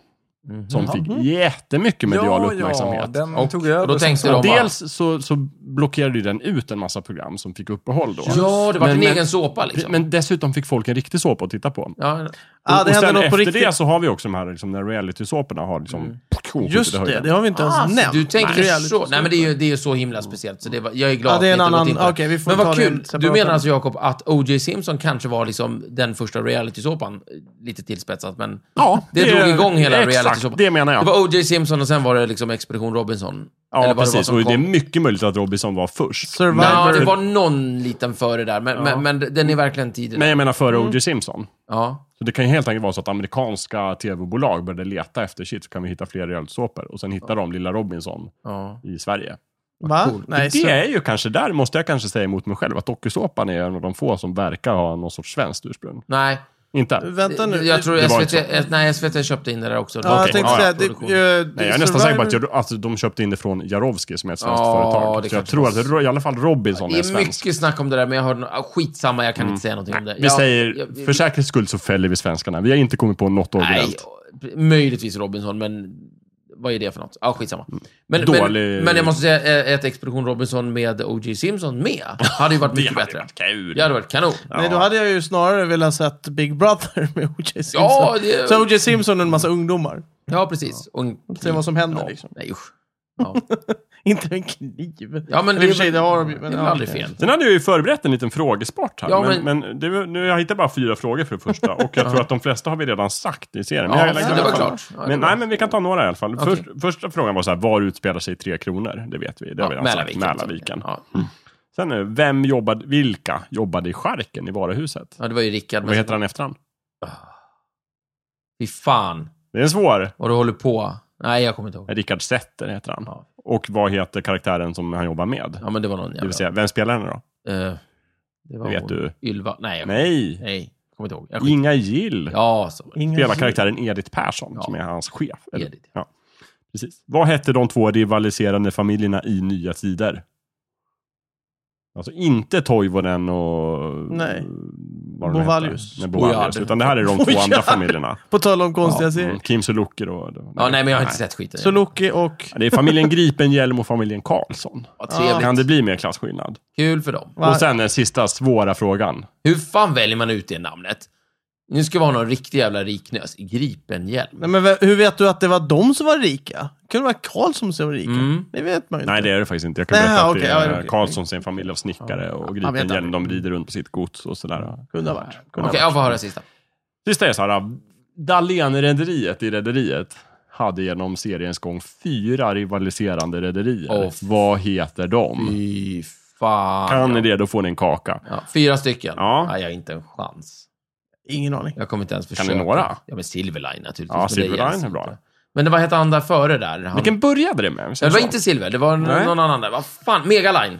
Mhm. Som fick jättemycket medial Ja, uppmärksamhet. den Och- tog över. och då som tänkte sagt. de- Dels så, så blockerade ju den ut en massa program som fick uppehåll då. Ja, det var Men- en men- egen såpa liksom. Men dessutom fick folk en riktig såpa att titta på. ja. Ja, och, det och hände sen något på efter riktigt. det så har vi också de här liksom, när reality-såporna har liksom... Mm. skjutit i Just det, höjden. det har vi inte ens Ah, så nämnt. du tänker Nej. så. Nej, men det är ju, det är ju så himla speciellt. Så det var, jag är glad Ja, det är en att ni inte gått annan- in på det. okej, vi får Men ta vad det kul. separat. Du menar alltså, Jakob, att O.J. Simpson kanske var liksom den första realitysåpan, eh, lite tillspetsat, men Ja, det, drog igång hela exakt, realitysåpan. det menar jag. Det var O.J. Simpson och sen var det liksom Expedition Robinson. ja, Eller vad det var precis. som och det är kom. mycket möjligt att Robinson var först. Survivor. Ja, det var någon liten före där, men, men, men den är verkligen tidig. Mm. Men jag menar före O.J. Simpson. Ja. Så det kan ju helt enkelt vara så att amerikanska tv-bolag började leta efter shit, så kan vi hitta fler realsåpor. Och sen hittar de Lilla Robinson ja. i Sverige. Va? coolt. Nej, det så- är ju kanske där, måste jag kanske säga emot mig själv, att dokusåpan är en av de få som verkar ha någon sorts svenskt ursprung. Nej, Inte? Vänta nu. jag tror det var SVT, nej, SVT köpte in det där också. Ja, jag Okej. tänkte ja, säga, ja, det, produktion. eh, det- Nej, jag är nästan säker på Survivor- att jag, alltså, de köpte in det från Jarowski som är ett svenskt Ja, företag. det Så jag kanske tror var- att det- i alla fall Robinson Det är är svensk. mycket snack om det där, men jag hörde... ah, Skitsamma, jag kan inte säga någonting om det. Mm. Vi Jag- säger, jag- vi- för säkerhets skull så fäller vi svenskarna. Vi har inte kommit på något Nej, originellt. möjligtvis Robinson, men vad är det för något? Ja, ah, skitsamma. Men, men, Mm. Dålig- men jag måste säga, eh, ett Expedition Robinson med O.J. Simpson med hade *laughs* ju varit mycket hade bättre. varit kul. Det hade varit kanon. Nej, då hade jag ju snarare velat sett Big Brother *laughs* med O.J. Simpson. Ja, det- Så O.J. Simpson och en massa ungdomar. *laughs* Ja, precis. Och en Se vad som händer ja. liksom. Nej, usch. Ja. Inte en kniv. ja, men Eller *laughs* i och för sig, det har de ju, Det är men väl ja, aldrig okej. fel. Sen hade jag ju förberett en liten frågesport här. Ja, men men- men, det, var- nu, jag hittade bara fyra frågor för det första. Och jag tror att de flesta har vi redan sagt i serien. Men Ja, jag lägger det i alla var fall- klart. Ja, det var men, bra. nej, men vi kan ta några i alla fall. Okej. Först, första frågan var så här, var utspelar sig Tre Kronor? Det vet vi. Det har vi Ja, redan Mälarviken. sagt. Mälarviken. Ja. Sen är det, vem jobbade, vilka jobbade i skärken i varuhuset? ja, det var ju Rickard. Vad Men heter han i efterhand? fy fan Det är en svår. vad du håller på. Nej, jag kommer inte ihåg. Rickard Setter heter han. Ja. Och vad heter karaktären som han jobbar med? Ja, men det var någon Det jävla... vill säga, vem spelar henne då? Eh, det var Det vet hon. du. Ylva. Nej, jag, Nej, nej, jag kommer inte ihåg. Jag skiter. Inga Gill. Ja, så var det. Ingen Spelar som- karaktären Edith Persson, Ja. som är hans chef. Eller- Edith. Ja. Precis. Vad hette de två rivaliserande familjerna i Nya Tider? Alltså inte Toivonen och... Nej. vad de hette. Bovallius. Nej, Bovallius. Bojard. Utan det här *laughs* är de två Bojard. andra familjerna. På tal om konstiga Mm, serier. Kim Sulocki och... Ja, nej, men jag har inte sett skiten. Soluki och... Ja, Det är familjen Gripenhjelm och familjen Karlsson. Vad Kan trevligt. det bli mer klasskillnad? Kul för dem. Va? Och sen den sista svåra frågan. Hur fan väljer man ut det namnet? Nu ska vi ha någon riktig jävla riknös. Gripenhjälm. Nej, men v- hur vet du att det var de som var rika? Det kunde vara Karlsson som var rika. Mm. Det vet man ju inte. Nej, det är det faktiskt inte. Jag kan Nej, berätta att okej, det ja, är okej, okej. Karlsson sin familj av snickare och vet Gripenhjelm. aldrig. De rider runt på sitt gods och sådär. Kunde ha varit. Kunde Okej, ha jag får höra sista. Sista är så här. äh, Dahlén-rederiet i Rederiet hade genom seriens gång fyra rivaliserande rederier. Åh, f- Vad heter de? Fy fan. Kan ni det, då får ni en kaka. Ja, fyra stycken? Ja. Nej, jag har inte en chans. varit. Ingen aning. Jag kommer inte ens försöka. ni några? Ja, men Silverline naturligtvis. Ja, men det Silverline gäller är bra. inte. Men det var hette han där före där? Han... Vilken började det med? Ja, Det var inte Silver, det var n- Nej. någon annan där. Vad fan, Megaline.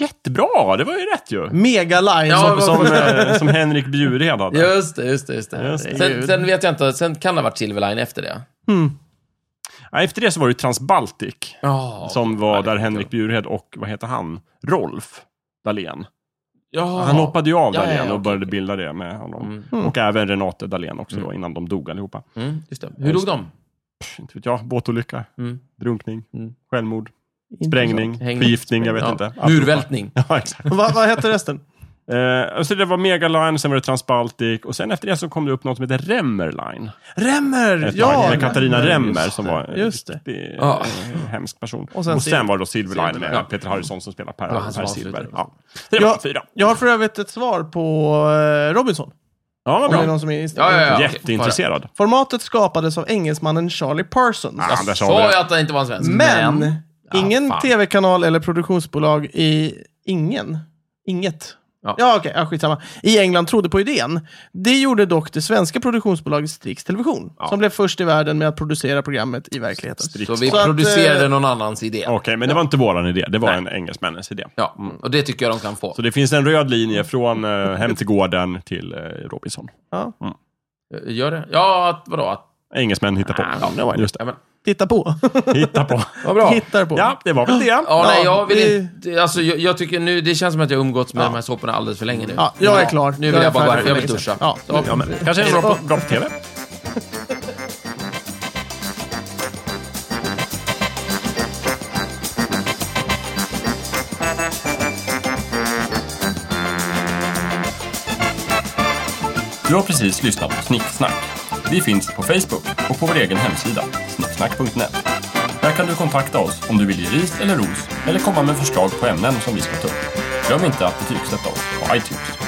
Jättebra! Det var ju rätt ju. Mm. Megaline Ja, som... vad- som Som, eh, som Henrik Bjured hade. Just det, just det. Just det. Just det. Sen, sen vet jag inte, sen kan det ha varit Silverline efter det. Nej, Efter det så var det ju Transbaltic. Ja. Som var där det- Henrik Bjurhed och, vad heter han, Rolf Dahlén. ja. Han hoppade ju av Ja, Dahlén ja, ja, och okej, började bilda det med honom. Och även Renate Dahlén också då, innan de dog allihopa. Mm, just det. Hur dog de? Pff, inte vet jag, båtolycka, Mm. drunkning, Mm. självmord, sprängning, Häng- förgiftning, jag vet Ja. inte. Allt. Murvältning. *laughs* Ja, *laughs* exakt. Vad vad hette resten? Eh, så det var Megaline, sen var det Transbaltic och sen efter det så kom det upp något som heter Remmerline. Remmer! Ett tag, Ja! med Katarina Remmer som var en Just det. riktig, eh, Ja. hemsk person. Och Och sen sen, Silver- var det då Silverline Silverline, med ja. Peter Harrison som spelar Per, Ja, han som per avslutade. Silver. Ja. Det var Ja. fyra. Jag har för övrigt ett svar på eh, Robinson. Ja, vad Om det är bra. någon som är Ja, ja, ja. okej. Jätteintresserad. Formatet skapades av engelsmannen Charlie Parsons. Ah, där sa vi Sa det. jag att det inte var en svensk? Mm. Men, Ja, ingen fan. tv-kanal eller produktionsbolag i... Ingen? Inget? Ja. Ja, okej. Ja, skitsamma. I England trodde på idén. Det gjorde dock det svenska produktionsbolaget Strix Television, som blev först i världen med att producera programmet i verkligheten. Så vi Så att, eh, producerade någon annans idé. Okej, men det var inte våran idé. Det var en engelsmännens idé. Ja, och det tycker jag de kan få. Så det finns en röd linje från eh, Hem till gården till eh, Robinson. Ja. Eh, Gör det? Ja, att, vadå? Att, Engelsmän hittar på. Ah, Ja, det var det. Just ja, men, Titta på. det. Hitta *laughs* på. vad bra. *laughs* Hittar på. Ja, det var väl det. Ja, nej, jag vill vi- inte... Alltså, jag, jag tycker nu... Det känns som att jag umgåtts med de här såporna alldeles för länge nu. Ja, jag är klar. Nu vill jag, är bara gå färdig hem. Jag vill för duscha. länge sedan. Ja. Ja, men, kanske är det bra på, bra på tv. Du har precis lyssnat på Snicksnack. Vi finns på Facebook och på vår egen hemsida, snicksnack.net. Där kan du kontakta oss om du vill ge ris eller ros eller komma med förslag på ämnen som vi ska ta upp. Glöm inte att betygsätta oss på iTunes.